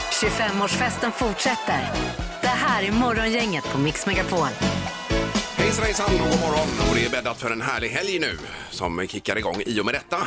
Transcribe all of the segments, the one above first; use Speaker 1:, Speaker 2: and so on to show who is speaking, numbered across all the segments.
Speaker 1: 25-årsfesten fortsätter. Det här är Morgongänget på Mix Megapol.
Speaker 2: Hejsan hejsan och god morgon. Och det är bäddat för en härlig helg nu som kickar igång i och med detta.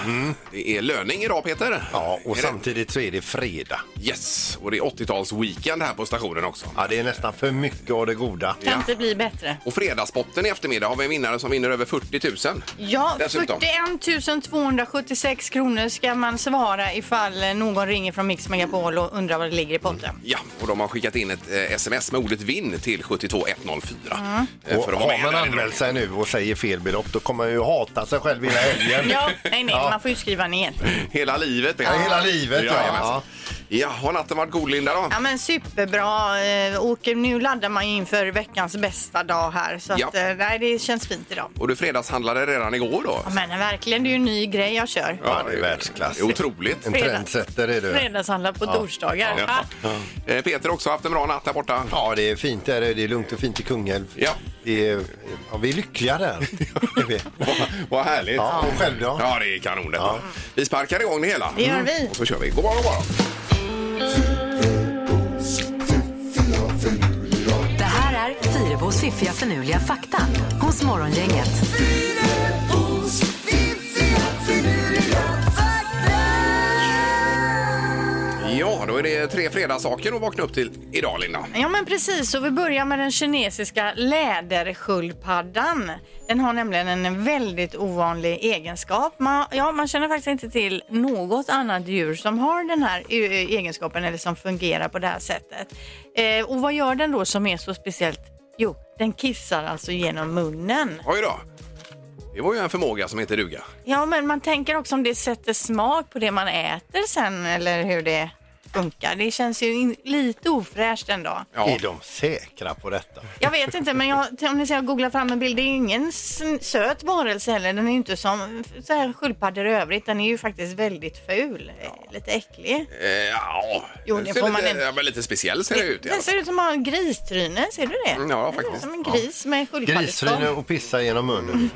Speaker 2: Det är löning idag Peter.
Speaker 3: Mm. Ja,
Speaker 2: Är
Speaker 3: och
Speaker 2: det-
Speaker 3: samtidigt så är det fredag.
Speaker 2: Yes, och det är 80-tals-weekend här på stationen också.
Speaker 3: Ja, det är nästan för mycket av det goda.
Speaker 4: Kan inte bli bättre.
Speaker 2: Och fredagsbotten i eftermiddag har vi en vinnare som vinner över 40 000.
Speaker 4: Ja,
Speaker 2: Dessutom.
Speaker 4: 41 276 kronor ska man svara ifall någon ringer från Mix Megapol och undrar vad det ligger i potten.
Speaker 2: Ja, och de har skickat in ett eh, sms med ordet vinn till 72104.
Speaker 4: Mm.
Speaker 2: eh,
Speaker 3: Och har man
Speaker 2: där i
Speaker 3: anmält sig nu och säger fel belopp då kommer man ju hata sig själv hela helgen.
Speaker 4: Ja, nej, nej,
Speaker 3: Ja.
Speaker 4: man får ju skriva ner.
Speaker 2: drog- Hela livet.
Speaker 3: Ja, hela livet, ja.
Speaker 2: Ja, ja, har natten varit god Linda då?
Speaker 4: Ja men superbra. Eh, åker, nu laddar man ju inför veckans bästa dag här. Så
Speaker 2: Ja.
Speaker 4: att, eh, nej, det känns fint idag.
Speaker 2: Och du fredagshandlade redan igår då?
Speaker 4: Ja, men verkligen, det är ju en ny grej jag kör.
Speaker 3: Ja, det är världsklass.
Speaker 2: Det är otroligt.
Speaker 3: En trendsetter är du.
Speaker 4: Fredagshandlar på torsdagar.
Speaker 2: Ja.
Speaker 4: Ah,
Speaker 2: Eh, Peter har också haft en bra natt där borta.
Speaker 3: Ja, det är fint där. Det är lugnt och fint i Kungälv.
Speaker 2: Ja.
Speaker 3: Det är, ja, vi är lyckliga där. Är vi.
Speaker 2: Vad- Vad härligt.
Speaker 3: Ja, och själv då?
Speaker 2: Ja, det är kanon detta. Vi sparkar igång det hela. Mm.
Speaker 4: Det gör vi.
Speaker 2: Och så kör vi. God morgon, god morgon.
Speaker 1: Det här är Fyrabos fiffiga förnuliga fakta hos Morgongänget.
Speaker 2: Ja, då är det tre fredagssaker att vakna upp till idag, Linda.
Speaker 4: Ja men precis, och vi börjar med den kinesiska lädersköldpaddan. Den har nämligen en väldigt ovanlig egenskap. Man, ja, man känner faktiskt inte till något annat djur som har den här ö, egenskapen eller som fungerar på det här sättet. Eh, och vad gör den då som är så speciellt? Jo, den kissar alltså genom munnen.
Speaker 2: Oj då. Det var ju en förmåga som heter duga.
Speaker 4: Ja, men man tänker också om det sätter smak på det man äter sen eller hur det funkar. Det känns ju in, lite ofräscht ändå.
Speaker 2: Ja.
Speaker 3: Är de säkra på detta?
Speaker 4: Jag vet inte, men jag, om ni ser jag googlar fram en bild, det är ingen s- söt varelse heller. Den är ju inte som så här sköldpaddor i övrigt. Den är ju faktiskt väldigt ful, eh, lite äcklig.
Speaker 2: Eh, ja.
Speaker 4: Jo,
Speaker 2: Den
Speaker 4: det
Speaker 2: ser
Speaker 4: får
Speaker 2: lite,
Speaker 4: man en-
Speaker 2: ja, men lite speciell ser det ut. i alla fall.
Speaker 4: Den ser ut som en gristryne, ser du det?
Speaker 2: Mm, ja,
Speaker 4: Den ser
Speaker 2: faktiskt.
Speaker 4: ut Som en gris med
Speaker 3: Grisryne
Speaker 4: sköldpaddestopp.
Speaker 3: och pissa genom munnen.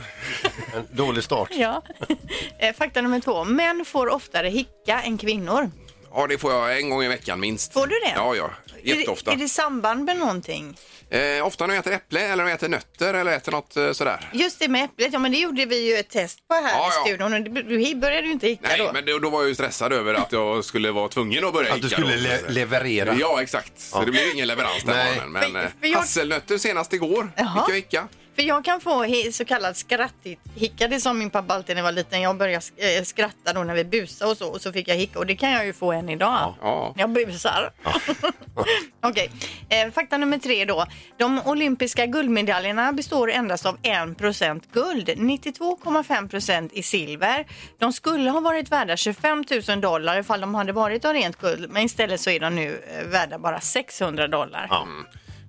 Speaker 3: En dålig start.
Speaker 4: Ja. Eh, Fakta nummer två. Män får oftare hicka än kvinnor.
Speaker 2: Ja, det får jag en gång i veckan minst.
Speaker 4: Får du det?
Speaker 2: Ja, ja. Jätteofta.
Speaker 4: Är det, är det samband med någonting?
Speaker 2: Eh, ofta när jag äter äpple eller när jag äter nötter eller äter något eh, sådär.
Speaker 4: Just det med äpplet, ja men det gjorde vi ju ett test på här
Speaker 2: Ja, ja.
Speaker 4: i studion. och Du du började ju inte hicka
Speaker 2: Nej,
Speaker 4: då.
Speaker 2: men då, då var jag ju stressad över att jag skulle vara tvungen att börja
Speaker 3: Att du
Speaker 2: hicka
Speaker 3: skulle
Speaker 2: då.
Speaker 3: le- leverera.
Speaker 2: Ja, exakt. Så
Speaker 3: Ja.
Speaker 2: det blev ingen leverans den
Speaker 3: Nej.
Speaker 2: morgonen. Men eh,
Speaker 4: För- för jag-
Speaker 2: hasselnötter senast igår
Speaker 4: Jaha.
Speaker 2: fick jag hicka.
Speaker 4: För jag kan få he- så kallad skratthicka. Det är som min pappa alltid när jag var liten. Jag började sk- eh, skratta då när vi busade och så och så fick jag hicka och det kan jag ju få än idag.
Speaker 2: Ja.
Speaker 4: Jag busar. Okej, eh, fakta nummer tre då. De olympiska guldmedaljerna består endast av 1 guld, 92,5 i silver. De skulle ha varit värda 25 000 dollar ifall de hade varit av rent guld, men istället så är de nu eh, värda bara 600 dollar.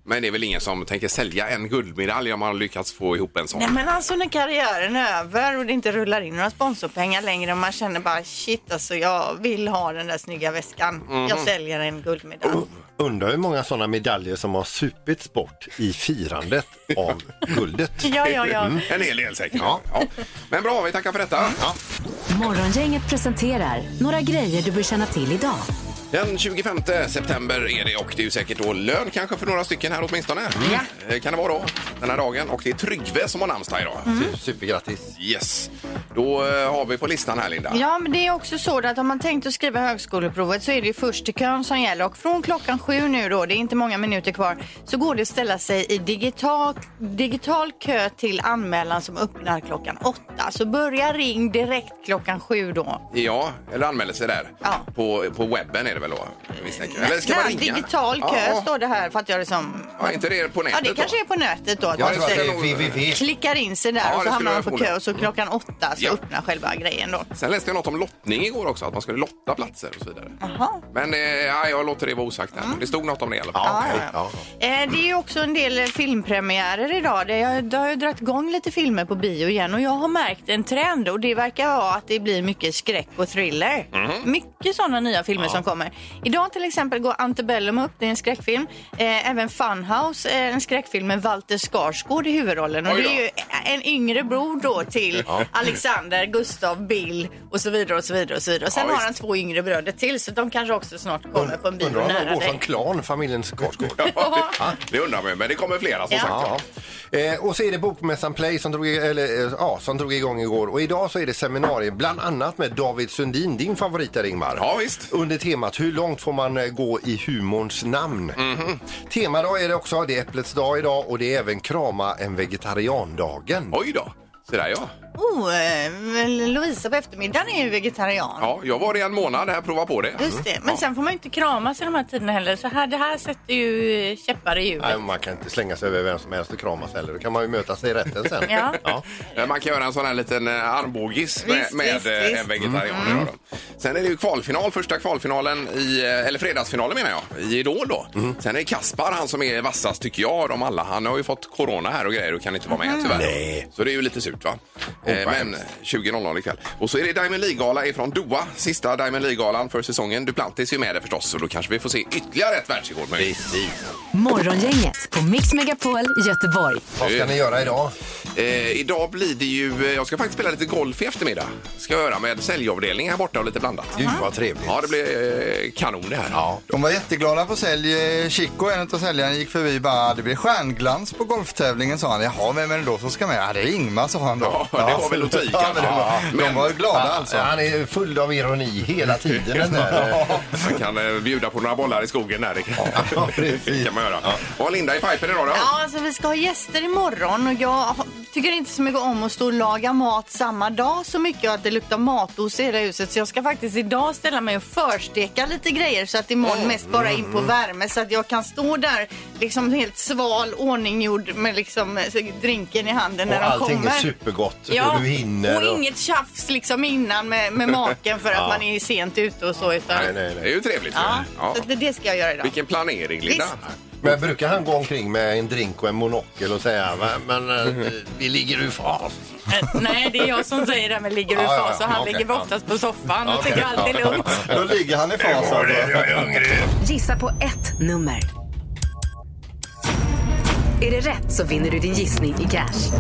Speaker 2: Men det är väl ingen som tänker sälja en guldmedalj om man har lyckats få ihop en sån.
Speaker 4: Nej men alltså när karriären är över och det inte rullar in några sponsorpengar längre och man känner bara shit alltså jag vill ha den där snygga väskan.
Speaker 2: Mhm.
Speaker 4: Jag säljer en guldmedalj.
Speaker 3: Undrar hur många sådana medaljer som har supits bort i firandet av guldet.
Speaker 4: Ja, ja, ja.
Speaker 2: Mm. En hel del säkert. Ja. Men bra, vi tackar för detta.
Speaker 1: Morgongänget presenterar några grejer du bör känna till idag.
Speaker 2: Den 25 september är det och det är ju säkert då lön kanske för några stycken här åtminstone.
Speaker 4: Mm. Ja.
Speaker 2: Eh, Kan det vara då, den här dagen. Och det är Tryggve som har namnsdag idag.
Speaker 4: Mm.
Speaker 3: Supergrattis.
Speaker 2: Yes. Då eh, har vi på listan här Linda.
Speaker 4: Ja, men det är också så att om man tänkt att skriva högskoleprovet så är det ju först till kön som gäller. Och från klockan sju nu då, det är inte många minuter kvar, så går det att ställa sig i digital, digital kö till anmälan som öppnar klockan åtta. Så börja ring direkt klockan sju då.
Speaker 2: Ja, eller anmäler sig där.
Speaker 4: Ja.
Speaker 2: På, på webben är det väl då? misstänker jag. Eller ska man
Speaker 4: Nej,
Speaker 2: ringa?
Speaker 4: Digital kö
Speaker 2: Ja,
Speaker 4: står det här för att jag liksom...
Speaker 2: Ja, inte det på nätet
Speaker 4: Ja, det kanske
Speaker 2: då?
Speaker 4: är på nätet då. Att
Speaker 3: Jag
Speaker 4: man
Speaker 3: tror att det
Speaker 4: säger-
Speaker 3: är www.
Speaker 4: klickar in sig där
Speaker 2: Ja, det
Speaker 4: och så
Speaker 2: skulle
Speaker 4: hamnar man
Speaker 2: jag
Speaker 4: på
Speaker 2: förmodligen.
Speaker 4: kö och så klockan åtta så
Speaker 2: Ja.
Speaker 4: öppnar själva grejen då.
Speaker 2: Sen läste jag något om lottning igår också, att man skulle lotta platser och så vidare.
Speaker 4: Jaha.
Speaker 2: Men eh, ja, jag låter det vara osagt här. Det stod något om det i alla fall.
Speaker 3: Ja, okej.
Speaker 4: Ja.
Speaker 3: ja.
Speaker 4: Eh, Det är ju också en del eh, filmpremiärer idag. Det har, det har ju dragit igång lite filmer på bio igen och jag har märkt en trend och det verkar vara att det blir mycket skräck och thriller.
Speaker 3: Mhm.
Speaker 4: Mycket sådana nya filmer som kommer. Idag till exempel går Antebellum upp, det är en skräckfilm. Eh, Även Funhouse, eh, en skräckfilm med Walter Skarsgård i huvudrollen. Och
Speaker 2: Oj
Speaker 4: det
Speaker 2: då.
Speaker 4: är ju en yngre bror då till Alexander Alexander, Gustav, Bill och så vidare och så vidare. Och så vidare. Och sen
Speaker 2: Ja,
Speaker 4: har
Speaker 2: visst.
Speaker 4: han två yngre bröder till så de kanske också snart kommer på en bio
Speaker 3: Undrar om de
Speaker 4: nära
Speaker 3: går
Speaker 4: dig.
Speaker 3: från klan, familjens gårdsgård.
Speaker 2: Ja, det undrar man ju, men det kommer flera som
Speaker 4: Ja.
Speaker 2: sagt.
Speaker 3: Ja.
Speaker 2: Ja.
Speaker 3: Eh, och så är det Bokmässan Play som drog, i- eller, eh, ja, som drog igång igår. Och idag så är det seminarium bland annat med David Sundin, din favorit där Ingmar.
Speaker 2: Ja, visst.
Speaker 3: Under temat Hur långt får man eh, gå i humorns namn? Temadag är det också, det är Äpplets dag idag och det är även Krama en vegetariandagen.
Speaker 2: Oj då, så där ja.
Speaker 4: Oh, eh, men Lovisa på eftermiddagen är ju vegetarian.
Speaker 2: ja. Jag var det en månad här, prova på det.
Speaker 4: Just det. Men sen får man ju inte kramas i de här tiderna heller. Så här, det här sätter ju eh, käppar i hjulet.
Speaker 3: Nej, man kan inte slänga sig över vem som helst och kramas heller. Då kan man ju möta sig i rätten sen.
Speaker 4: Ja.
Speaker 2: Eh, Man kan göra en sån här liten eh, armbågis med,
Speaker 4: Visst,
Speaker 2: med
Speaker 4: visst,
Speaker 2: eh, en
Speaker 4: visst. Mm.
Speaker 2: vegetarian. det gör de. Sen är det ju kvalfinal, första kvalfinalen, i, eh, eller fredagsfinalen menar jag, i Idol då.
Speaker 3: Mm.
Speaker 2: Sen är det Kaspar, han som är vassast tycker jag av dem alla. Han har ju fått corona här och grejer och kan inte vara med tyvärr.
Speaker 3: Mm. Nej.
Speaker 2: Så det är ju lite surt va. Eh,
Speaker 3: vad
Speaker 2: Men 20.00 ikväll. Och så är det Diamond League-gala ifrån Doha, sista Diamond League-galan för säsongen. Duplantis är ju med där förstås så då kanske vi får se ytterligare ett världsrekord. Precis.
Speaker 1: Morgongänget på Mix Megapol Göteborg.
Speaker 3: Vad ska ni göra idag?
Speaker 2: Eh, idag blir det ju, eh, jag ska faktiskt spela lite golf i eftermiddag. Ska jag göra med säljavdelningen här borta och lite blandat.
Speaker 3: Gud vad trevligt.
Speaker 2: Ja, det blir eh, kanon det här. Ja.
Speaker 5: De var jätteglada på sälj. Eh, Chico, en av säljarna, gick förbi bara det blir stjärnglans på golftävlingen sa han. Jaha, vem är det då som ska med? Ja, det är Ingmar sa han då.
Speaker 2: Ja, det var väl att ta i,
Speaker 5: ja, men det
Speaker 2: kanske.
Speaker 5: var,
Speaker 2: Men-
Speaker 5: De var ju glada
Speaker 3: Han,
Speaker 5: alltså.
Speaker 3: han är full av ironi hela tiden. Den där. eh,
Speaker 2: Man kan eh, bjuda på några bollar i skogen där. Det kan,
Speaker 3: Ja, precis.
Speaker 2: det kan man göra. Och Linda i pipen idag då?
Speaker 4: Ja, alltså vi ska ha gäster imorgon och jag ha- tycker inte så mycket om att stå och laga mat samma dag så mycket och att det luktar matos i hela huset. Så jag ska faktiskt idag ställa mig och försteka lite grejer så att
Speaker 3: Mm.
Speaker 4: imorgon mest bara in på värme så att jag kan stå där liksom helt sval, ordninggjord med liksom eh, drinken i handen när
Speaker 3: Och
Speaker 4: de
Speaker 3: allting
Speaker 4: kommer.
Speaker 3: är supergott och du hinner.
Speaker 4: och inget tjafs liksom innan med, med maken för att man är sent ute och så. Utan,
Speaker 3: Nej, nej,
Speaker 2: Det
Speaker 3: nej.
Speaker 2: är ju trevligt.
Speaker 4: Ja,
Speaker 2: Ja.
Speaker 4: Så att det- det ska jag göra idag.
Speaker 2: Vilken planering, Linda.
Speaker 3: Men brukar han gå omkring med en drink och en monokel och säga "Va, men eh, vi ligger ur fas?
Speaker 4: Eh, Nej, det är jag som säger det här med ligger du i
Speaker 3: Ja, ja,
Speaker 4: fas och
Speaker 3: ja,
Speaker 4: han
Speaker 3: okej,
Speaker 4: ligger
Speaker 3: ja.
Speaker 4: oftast på soffan och
Speaker 3: Okej,
Speaker 4: tycker allt är
Speaker 3: ja.
Speaker 4: lugnt.
Speaker 5: Då ligger han i fas alltså.
Speaker 3: jag är hungrig.
Speaker 1: Gissa på ett nummer. Är det rätt så vinner du din gissning i cash.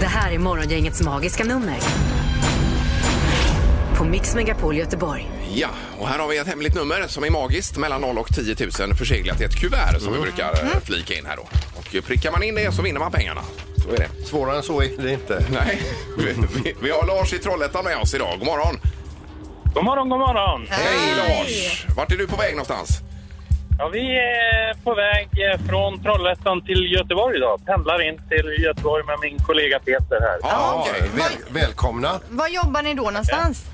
Speaker 1: Det här är Morgongängets magiska nummer. På Mix Megapol Göteborg.
Speaker 2: Ja, och här har vi ett hemligt nummer som är magiskt mellan 0 och 10 000 förseglat i ett kuvert som vi brukar
Speaker 4: Mm.
Speaker 2: eh, flika in här då. Och eh, prickar man in det så vinner man pengarna. Så är det.
Speaker 3: Svårare än så är det inte.
Speaker 2: Nej, vi, vi, vi har Lars i Trollhättan med oss idag. God morgon!
Speaker 6: God morgon, god morgon.
Speaker 2: Hej Lars! Vart är du på väg någonstans?
Speaker 6: Ja, vi är på väg eh, från Trollhättan till Göteborg idag. Pendlar in till Göteborg med min kollega Peter här.
Speaker 2: Ja,
Speaker 3: Ja,
Speaker 2: okej.
Speaker 3: väl, välkomna.
Speaker 4: Var jobbar ni då någonstans?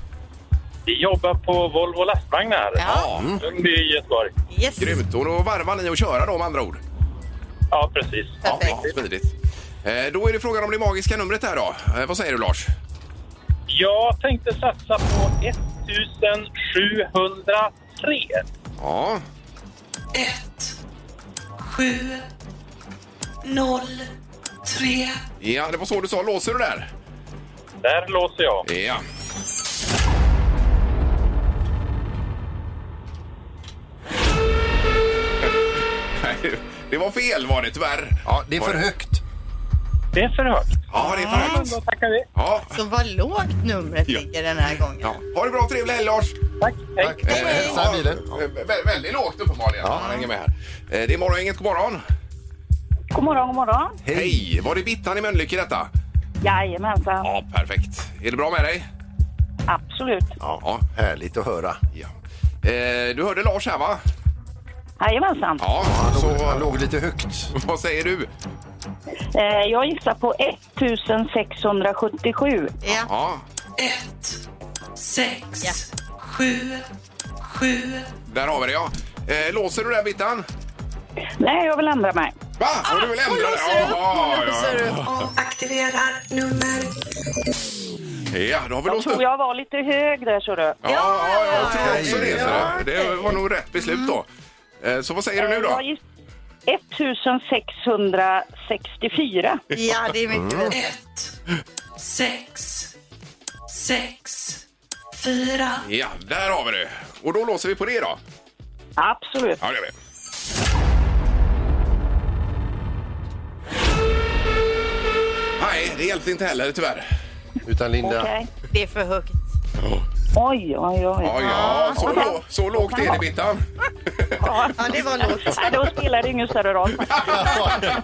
Speaker 6: Vi jobbar på Volvo lastvagnar.
Speaker 2: Ja,
Speaker 6: Lundby i Göteborg.
Speaker 4: Yes.
Speaker 2: grymt. Och då varvar ni och köra då med andra ord?
Speaker 6: Ja, precis.
Speaker 2: Ja,
Speaker 4: Perfekt.
Speaker 2: ja, smidigt. Eh, Då är det frågan om det magiska numret här då. Eh, Vad säger du Lars?
Speaker 6: Jag tänkte satsa på 1703.
Speaker 2: Ja,
Speaker 7: ett sju noll tre
Speaker 2: ja det var så du sa. Låser du där?
Speaker 6: Där låser jag.
Speaker 2: Ja. Nej, Det var fel var det tyvärr.
Speaker 3: Ja, det är
Speaker 2: Var
Speaker 3: för högt. Ah.
Speaker 6: Det är för högt.
Speaker 2: Ja, det är för
Speaker 6: Men
Speaker 2: högt.
Speaker 6: Då tackar vi.
Speaker 2: Ja.
Speaker 4: Så vad lågt numret
Speaker 2: Ja.
Speaker 4: ligger den här gången.
Speaker 2: Ja. Ha det bra, trevlig helg Lars!
Speaker 6: Tack. Hej.
Speaker 3: Tack. Eh, Hälsa bilen.
Speaker 2: Ja, vä- vä- väldigt lågt uppenbarligen. Ja. Han hänger med här. Eh, Det är morgon, inget god morgon.
Speaker 8: God morgon, god morgon.
Speaker 2: Hej. Var det Bittan i Mölnlycke detta?
Speaker 8: Jajamensan,
Speaker 2: Ja, perfekt. Är det bra med dig?
Speaker 8: absolut.
Speaker 2: Ja.
Speaker 3: Härligt att höra.
Speaker 2: ja. Eh, Du hörde Lars här va?
Speaker 8: Jajamensan.
Speaker 2: Ja,
Speaker 3: Så
Speaker 2: så
Speaker 3: han låg lite högt.
Speaker 2: vad säger du?
Speaker 8: Eh, jag gissar på 1677.
Speaker 4: Ja.
Speaker 2: Ja,
Speaker 7: ett sex sju sju
Speaker 2: där har vi det ja. Eh, Låser du där Bittan?
Speaker 8: Nej, jag vill ändra mig.
Speaker 2: Va? Har du väl
Speaker 4: Hon
Speaker 2: ändrat
Speaker 4: låser upp,
Speaker 2: Jaha,
Speaker 4: hon låser upp. Ja.
Speaker 7: aktiverar nummer
Speaker 2: ja. ja, då har vi
Speaker 8: Jag
Speaker 2: låst
Speaker 8: tror
Speaker 2: upp.
Speaker 8: jag var lite hög där, så du.
Speaker 2: Ja, ja, jag tror också det. så
Speaker 4: ja,
Speaker 2: det- Det var nog rätt beslut då. Eh, Så vad säger du nu då?
Speaker 8: Jag giss- 1664.
Speaker 4: ja, det är mycket mm.
Speaker 7: ett sex sex fyra
Speaker 2: Ja, där har vi det. Och då låser vi på det då.
Speaker 8: Absolut.
Speaker 2: Ja, det gör vi. Nej, det hjälpte inte heller tyvärr.
Speaker 3: Utan Linda...
Speaker 8: Okej.
Speaker 4: Det är för högt.
Speaker 8: Oj, oj, oj.
Speaker 2: Ja, ja, så, lå- så lågt är det, Bittan.
Speaker 8: Ja.
Speaker 9: Ja, det var lågt.
Speaker 8: Nej, då spelar det ingen större roll.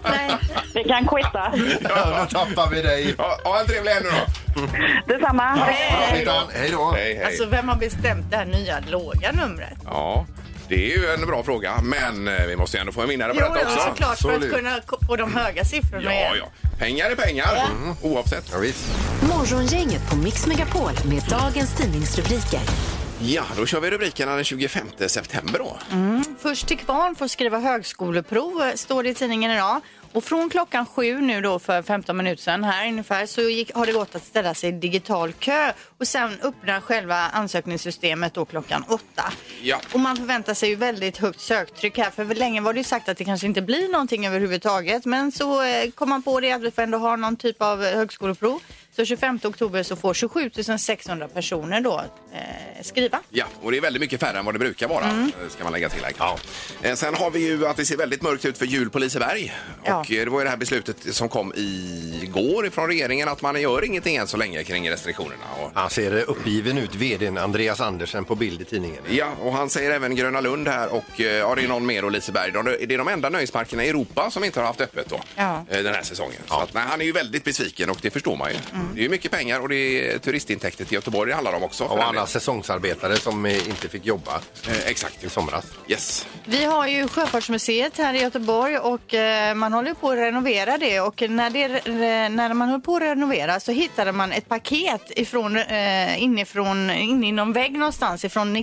Speaker 9: Nej.
Speaker 8: Vi kan quitta.
Speaker 5: Ja, då tappar vi dig.
Speaker 2: Ja, ha en trevlig helg nu då.
Speaker 8: Detsamma.
Speaker 2: Hej då.
Speaker 5: Hej då.
Speaker 2: Hej, hej.
Speaker 4: Alltså vem har bestämt det här nya låga numret?
Speaker 2: Ja, det är ju en bra fråga, men eh, vi måste ju ändå få en vinnare på
Speaker 4: Jo,
Speaker 2: detta
Speaker 4: jo,
Speaker 2: också.
Speaker 4: såklart
Speaker 3: absolut.
Speaker 4: för att kunna ko- få de höga siffrorna
Speaker 2: Ja,
Speaker 4: igen.
Speaker 2: ja. Pengar är pengar, mm. oavsett.
Speaker 3: Ja, visst.
Speaker 1: Morgongänget på Mix Megapol med dagens tidningsrubriker.
Speaker 2: Ja, då kör vi rubrikerna den 25 september då.
Speaker 4: Mm. Först till kvarn får skriva högskoleprov, eh, står det i tidningen idag. Och från klockan sju nu då för 15 minuter sedan här ungefär så gick, har det gått att ställa sig i digital kö och sen öppnar själva ansökningssystemet då klockan åtta.
Speaker 2: Ja.
Speaker 4: Och man förväntar sig ju väldigt högt söktryck här för länge var det ju sagt att det kanske inte blir någonting överhuvudtaget men så eh, kom man på det att vi får ändå ha någon typ av eh, högskoleprov. Så 25 oktober så får 27 600 personer då eh, skriva.
Speaker 2: Ja, och det är väldigt mycket färre än vad det brukar vara,
Speaker 4: Mm.
Speaker 2: eh, ska man lägga till här. Ja. Sen har vi ju att det ser väldigt mörkt ut för jul på Liseberg.
Speaker 4: Ja.
Speaker 2: Och eh, det var ju det här beslutet som kom igår ifrån regeringen att man gör ingenting än så länge kring restriktionerna. Och...
Speaker 3: Han ser uppgiven ut, vdn Andreas Andersen på bild i tidningen.
Speaker 2: Ja, och han säger även Gröna Lund här och eh, ja, det är någon mer och Liseberg. De- Det är de enda nöjesparkerna i Europa som inte har haft öppet då,
Speaker 4: Ja.
Speaker 2: eh, den här säsongen. Så att, nej, han är ju väldigt besviken och det förstår man ju.
Speaker 4: Mm.
Speaker 2: Det är ju mycket pengar och det är turistintäkter till Göteborg det handlar om också. för
Speaker 3: Och
Speaker 2: den
Speaker 3: alla säsongsarbetare som eh, inte fick jobba
Speaker 2: delen. eh, exakt.
Speaker 3: i somras.
Speaker 2: Yes.
Speaker 4: Vi har ju Sjöfartsmuseet här i Göteborg och eh, man håller på att renovera det och när, det, re- när man höll på att renovera så hittade man ett paket ifrån, eh, inifrån, inne i någon vägg någonstans ifrån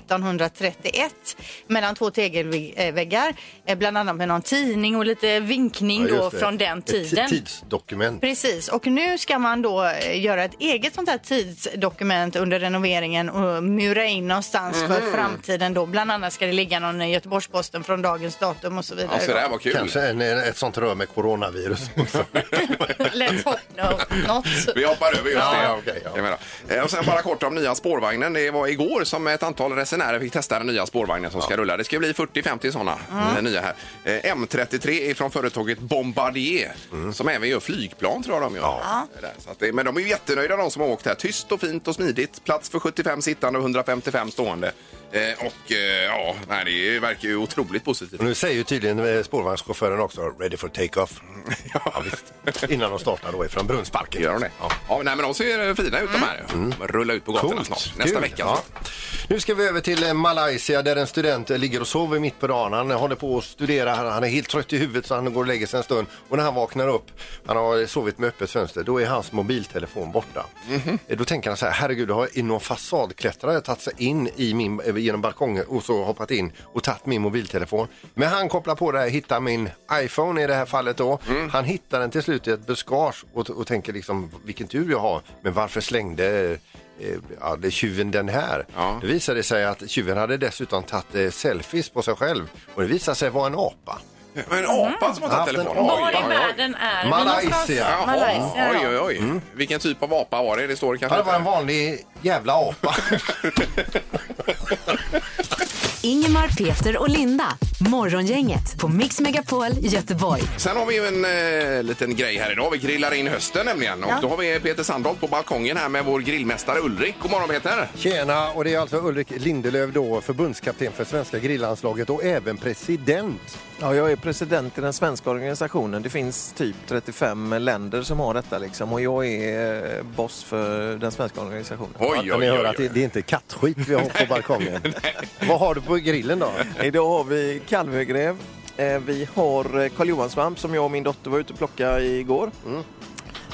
Speaker 4: 1931 mellan två tegelväggar, eh, bland annat med någon tidning och lite vinkning
Speaker 3: Ja,
Speaker 4: då
Speaker 3: just det.
Speaker 4: från den
Speaker 3: Ett ti-
Speaker 4: tiden.
Speaker 3: tidsdokument.
Speaker 4: Precis, och nu ska man då eh, göra ett eget sånt här tidsdokument under renoveringen och mura in någonstans
Speaker 2: Mhm.
Speaker 4: för framtiden då. Bland annat ska det ligga någon i Göteborgs-Posten från dagens datum och så vidare.
Speaker 2: Ja, så det här var kul.
Speaker 3: Kanske en, eh, ett sånt rör med coronavirus också.
Speaker 4: Let's hope no, not.
Speaker 2: Vi hoppar över just
Speaker 3: Ja,
Speaker 2: det.
Speaker 3: ja, okej, ja.
Speaker 2: Jag menar. Eh, Och sen bara kort om nya spårvagnen. Det var igår som ett antal resenärer fick testa den nya spårvagnen som ska rulla. Det ska bli 40-50 sådana eh, nya här. Eh, M33 är från företaget Bombardier
Speaker 3: Mm.
Speaker 2: som även gör flygplan tror jag de gör. Det där. Så att det, men de är ju jättenöjda de som har åkt här. Tyst och fint och smidigt. Plats för 75 sittande och 155 stående. Eh, och eh, ja, nej, det är- verkar ju otroligt positivt.
Speaker 3: Och nu säger ju tydligen eh, spårvagnschauffören också ready for take-off. Ja, visst. Innan de startar då ifrån Brunnsparken.
Speaker 2: Mm. Gör de det? Ja.
Speaker 3: Ja. Mm.
Speaker 2: nej, men de ser fina ut de här. Rulla ut på gatorna
Speaker 3: Coolt.
Speaker 2: snart. Nästa
Speaker 3: Kul.
Speaker 2: vecka. alltså.
Speaker 3: Ja. Nu ska vi över till eh, Malaysia där en student eh, ligger och sover mitt på dagen. Han eh, håller på att studera. Han han är helt trött i huvudet så han går och lägger sig en stund. Och när han vaknar upp, han har sovit med öppet fönster, då är hans mobiltelefon borta.
Speaker 2: Mhm.
Speaker 3: Eh, Då tänker han så här, herregud, har någon fasadklättrare tagit sig in i min, eh, genom balkongen och så hoppat in och tagit min mobiltelefon. Men han kopplar på det här, hittar min iPhone i det här fallet då.
Speaker 2: Mm.
Speaker 3: Han hittar den till slut i ett buskage och, och tänker liksom, vilken tur jag har, men varför slängde eh, eh, ja, det är tjuven den här.
Speaker 2: Ja.
Speaker 3: Det visade sig att tjuven hade dessutom tagit eh, selfies på sig själv och det visade sig vara en apa.
Speaker 2: Men en apa som har tagit
Speaker 3: Haft en
Speaker 2: telefonen? Oj,
Speaker 3: apa.
Speaker 4: Var i
Speaker 2: oj, oj.
Speaker 4: världen är vi
Speaker 3: Malaysia.
Speaker 4: någonstans?
Speaker 3: Jaha,
Speaker 4: Malaysia.
Speaker 2: Oj,
Speaker 4: ja.
Speaker 2: oj, oj. Vilken typ av apa var det? Det står det
Speaker 3: Ja,
Speaker 2: kanske
Speaker 3: det var en
Speaker 2: inte.
Speaker 3: vanlig jävla apa.
Speaker 1: Ingemar, Peter och Linda. Morgongänget på Mix Megapol Göteborg.
Speaker 2: Sen har vi ju en eh, liten grej här idag. Vi grillar in hösten nämligen. Och då har vi Peter Sandholt på balkongen här med vår grillmästare Ulrik. God morgon Peter!
Speaker 3: Tjena, och det är alltså Ulrik Lindelöf då, förbundskapten för svenska grillanslaget och även president.
Speaker 10: Ja, jag är president i den svenska organisationen. Det finns typ 35 länder som har detta liksom och jag är eh, boss för den svenska organisationen.
Speaker 2: Oj,
Speaker 3: Ja, ni hör att det, det är inte kattskit vi har på balkongen. Vad har du på grillen då?
Speaker 10: Idag har vi kalvhögräv. Eh, Vi har eh, karljohansvamp som jag och min dotter var ute och plockade igår. Mm.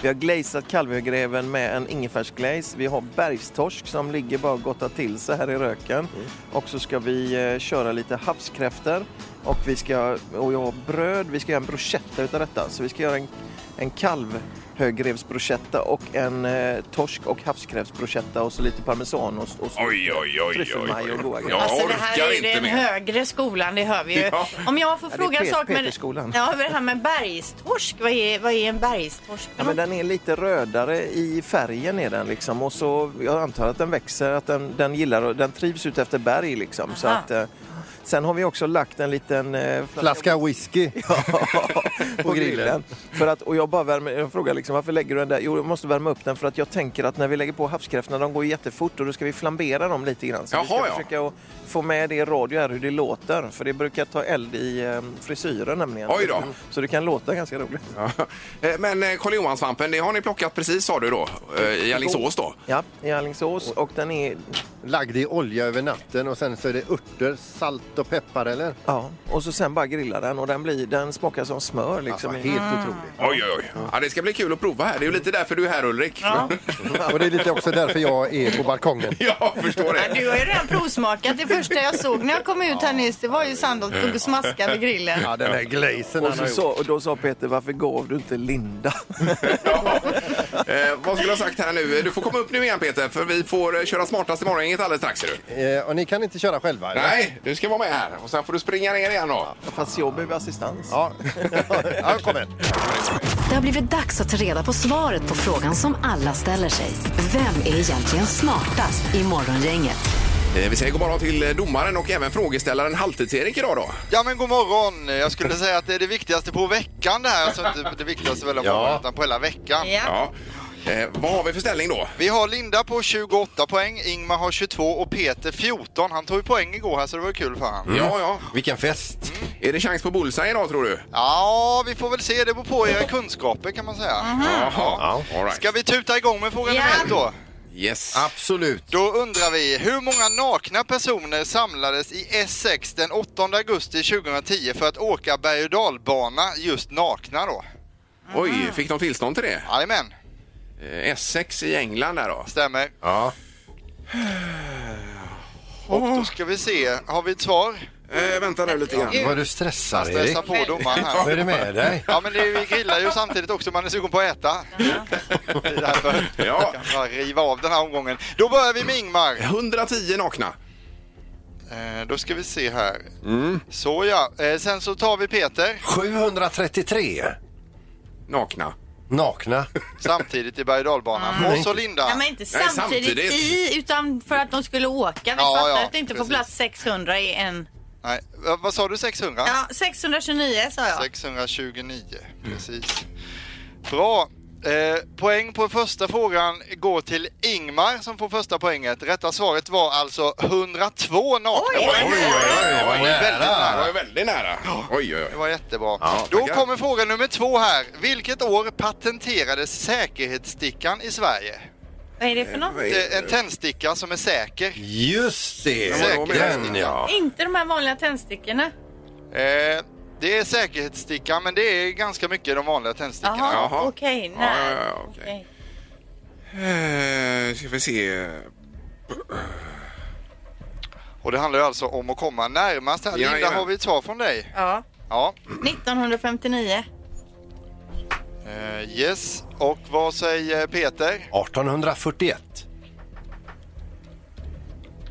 Speaker 10: Vi har glazat kalvhögräven med en ingefärsglaze. Vi har bergstorsk som ligger bara och gottar till sig här i röken. Och så ska vi eh, köra lite havskräftor. Och, vi ska, och jag har bröd. Vi ska göra en bruschetta utav detta. Så vi ska göra en, en kalvhögrävsbruschetta och en eh, torsk och havskräftsbruschetta och så lite parmesanost och så
Speaker 2: Oj, oj, oj, oj,
Speaker 10: Tryffelmaja och goda
Speaker 2: oj.
Speaker 10: grejer.
Speaker 2: Ja.
Speaker 4: Alltså det
Speaker 2: orkar
Speaker 4: här är ju
Speaker 2: inte
Speaker 4: den
Speaker 2: mer.
Speaker 4: högre skolan, det hör vi ju.
Speaker 2: Ja.
Speaker 4: Om jag får
Speaker 10: Ja, det är
Speaker 4: fråga en
Speaker 10: Pet-
Speaker 4: sak med,
Speaker 10: Peterskolan.
Speaker 4: ja, med det här med bergstorsk, vad är, vad är en bergstorsk?
Speaker 10: Ja, men den är lite rödare i färgen är den liksom. Och så, jag antar att den växer, att den, den gillar och den trivs ut efter berg liksom. Så
Speaker 4: Aha.
Speaker 10: att, eh, Sen har vi också lagt en liten eh,
Speaker 3: Flaska whisky.
Speaker 10: på grillen. För att, och jag bara värmer, jag frågar liksom, varför lägger du den där? Jo, jag måste värma upp den för att jag tänker att när vi lägger på havskräftorna, de går jättefort och då ska vi flambera dem lite grann. Så vi ska
Speaker 2: Jaha, ja.
Speaker 10: försöka att få med det i radio här hur det låter. För det brukar ta eld i eh, frisyren nämligen.
Speaker 2: Oj då.
Speaker 10: Så det kan låta ganska roligt.
Speaker 2: Eh, Men eh, Karl Johan-svampen, det har ni plockat precis sa du då, eh, i Alingsås då?
Speaker 10: Ja, i Alingsås och den är...
Speaker 3: Lagd i olja över natten och sen så är det örter, salt och peppar eller?
Speaker 10: Ja, och så sen bara grilla den och den, blir, den smakar som smör. Liksom.
Speaker 3: Alltså, helt otroligt.
Speaker 2: Oj, oj, oj. Ja, det ska bli kul att prova här. Det är ju lite därför du är här Ulrik. Ja,
Speaker 3: Och det är lite också därför jag är på balkongen.
Speaker 2: jag förstår
Speaker 4: Ja,
Speaker 2: det.
Speaker 4: Du har ju redan provsmakat. Det första jag såg när jag kom ut här nyss det var ju Sandholt stod och smaskade grillen.
Speaker 3: Ja, den där glazen
Speaker 10: Och,
Speaker 3: han
Speaker 10: så
Speaker 3: har
Speaker 10: sa,
Speaker 3: gjort.
Speaker 10: och då sa Peter, varför gav du inte Linda?
Speaker 2: Ja. Eh, vad skulle jag ha sagt här nu? Du får komma upp nu igen Peter, för vi får eh, köra smartast i morgongänget alldeles strax. Är du.
Speaker 3: Eh, och ni kan inte köra själva? eller?
Speaker 2: Nej, du ska vara med här och sen får du springa ner igen då.
Speaker 10: Fast jag behöver assistans.
Speaker 3: Ja, ja kom igen.
Speaker 1: Det har blivit dags att ta reda på svaret på frågan som alla ställer sig. Vem är egentligen smartast i Morgongänget?
Speaker 2: Eh, vi säger god morgon till eh, domaren och även frågeställaren Halvtids-Erik idag då.
Speaker 11: Ja men god morgon! Jag skulle säga att det är det viktigaste på veckan det här. Alltså inte det viktigaste väl om
Speaker 2: Ja.
Speaker 11: morgonen utan på hela veckan.
Speaker 4: Ja.
Speaker 2: Ja. Eh, vad har vi för ställning då?
Speaker 11: Vi har Linda på 28 poäng, Ingmar har 22 och Peter 14. Han tog ju poäng igår här så det var ju kul för han.
Speaker 2: Ja, ja. Mm.
Speaker 3: Vilken fest!
Speaker 2: Är det chans på bullseye idag tror du?
Speaker 11: Ja, vi får väl se. Det beror på era kunskaper kan man säga.
Speaker 2: Mm-hmm. Jaha. All right.
Speaker 11: Ska vi tuta igång med fråga nummer
Speaker 4: Ja.
Speaker 11: ett då?
Speaker 2: Yes.
Speaker 3: Absolut.
Speaker 11: Då undrar vi, hur många nakna personer samlades i Essex den 8 augusti 2010 för att åka berg och dalbana just nakna då?
Speaker 2: Oj, fick de tillstånd till det?
Speaker 11: Jajamän,
Speaker 2: Eh, S6 i England där då.
Speaker 11: stämmer.
Speaker 3: Ja.
Speaker 11: Och då ska vi se, har vi ett svar?
Speaker 2: Eh, vänta nu lite grann.
Speaker 3: Vad du stressar Erik.
Speaker 11: Stressa på domaren här.
Speaker 3: Vad är det med dig?
Speaker 11: Ja men det är, ju- vi grillar ju samtidigt också, man är sugen på att äta. Det är Därför
Speaker 2: Ja.
Speaker 11: jag kan bara riva av den här omgången. Då börjar vi med Ingmar.
Speaker 2: 110 Eh, nakna.
Speaker 11: Eh, då ska vi se här. Så ja, eh, sen så tar vi Peter
Speaker 3: 733
Speaker 2: Nakna.
Speaker 3: nakna.
Speaker 11: samtidigt i berg och dalbanan. Och så Linda.
Speaker 4: Ja, men inte
Speaker 2: Nej,
Speaker 4: samtidigt,
Speaker 2: samtidigt.
Speaker 4: i, utan för att de skulle åka. Vi
Speaker 11: Ja,
Speaker 4: fattar
Speaker 11: ja,
Speaker 4: att det inte får
Speaker 11: precis.
Speaker 4: plats 600 i en.
Speaker 11: Nej, va- vad sa du 600?
Speaker 4: Ja, 629 sa jag.
Speaker 11: 629, precis. Bra. Eh, poäng på första frågan går till Ingmar som får första poänget. Rätta svaret var alltså 102 nakna poäng.
Speaker 2: Det var
Speaker 11: Det var
Speaker 2: ju
Speaker 11: väldigt
Speaker 2: Det var
Speaker 11: nära.
Speaker 2: ju väldigt nära. Oj, oj,
Speaker 11: Det
Speaker 2: oj.
Speaker 11: var jättebra.
Speaker 2: Ja,
Speaker 11: Då
Speaker 2: tackar.
Speaker 11: kommer fråga nummer två här. Vilket år patenterades säkerhetsstickan i Sverige?
Speaker 4: Vad är det för något?
Speaker 11: Det är En tändsticka som är säker.
Speaker 3: Just det!
Speaker 11: Säkert.
Speaker 3: Den ja.
Speaker 4: Inte de här vanliga tändstickorna.
Speaker 11: Eh, det är säkerhetsstickan men det är ganska mycket de vanliga tändstickorna.
Speaker 4: Jaha,
Speaker 2: Jaha.
Speaker 4: okej.
Speaker 2: Ja,
Speaker 4: nej.
Speaker 2: ja, ja, okej.
Speaker 4: Okej.
Speaker 2: Eh, ska vi se.
Speaker 11: Och det handlar ju alltså om att komma närmast här. Linda,
Speaker 2: Jajamän.
Speaker 11: har vi ett svar från dig?
Speaker 4: Ja.
Speaker 11: Ja.
Speaker 4: 1959.
Speaker 11: Eh, yes. Och vad säger Peter
Speaker 3: 1841.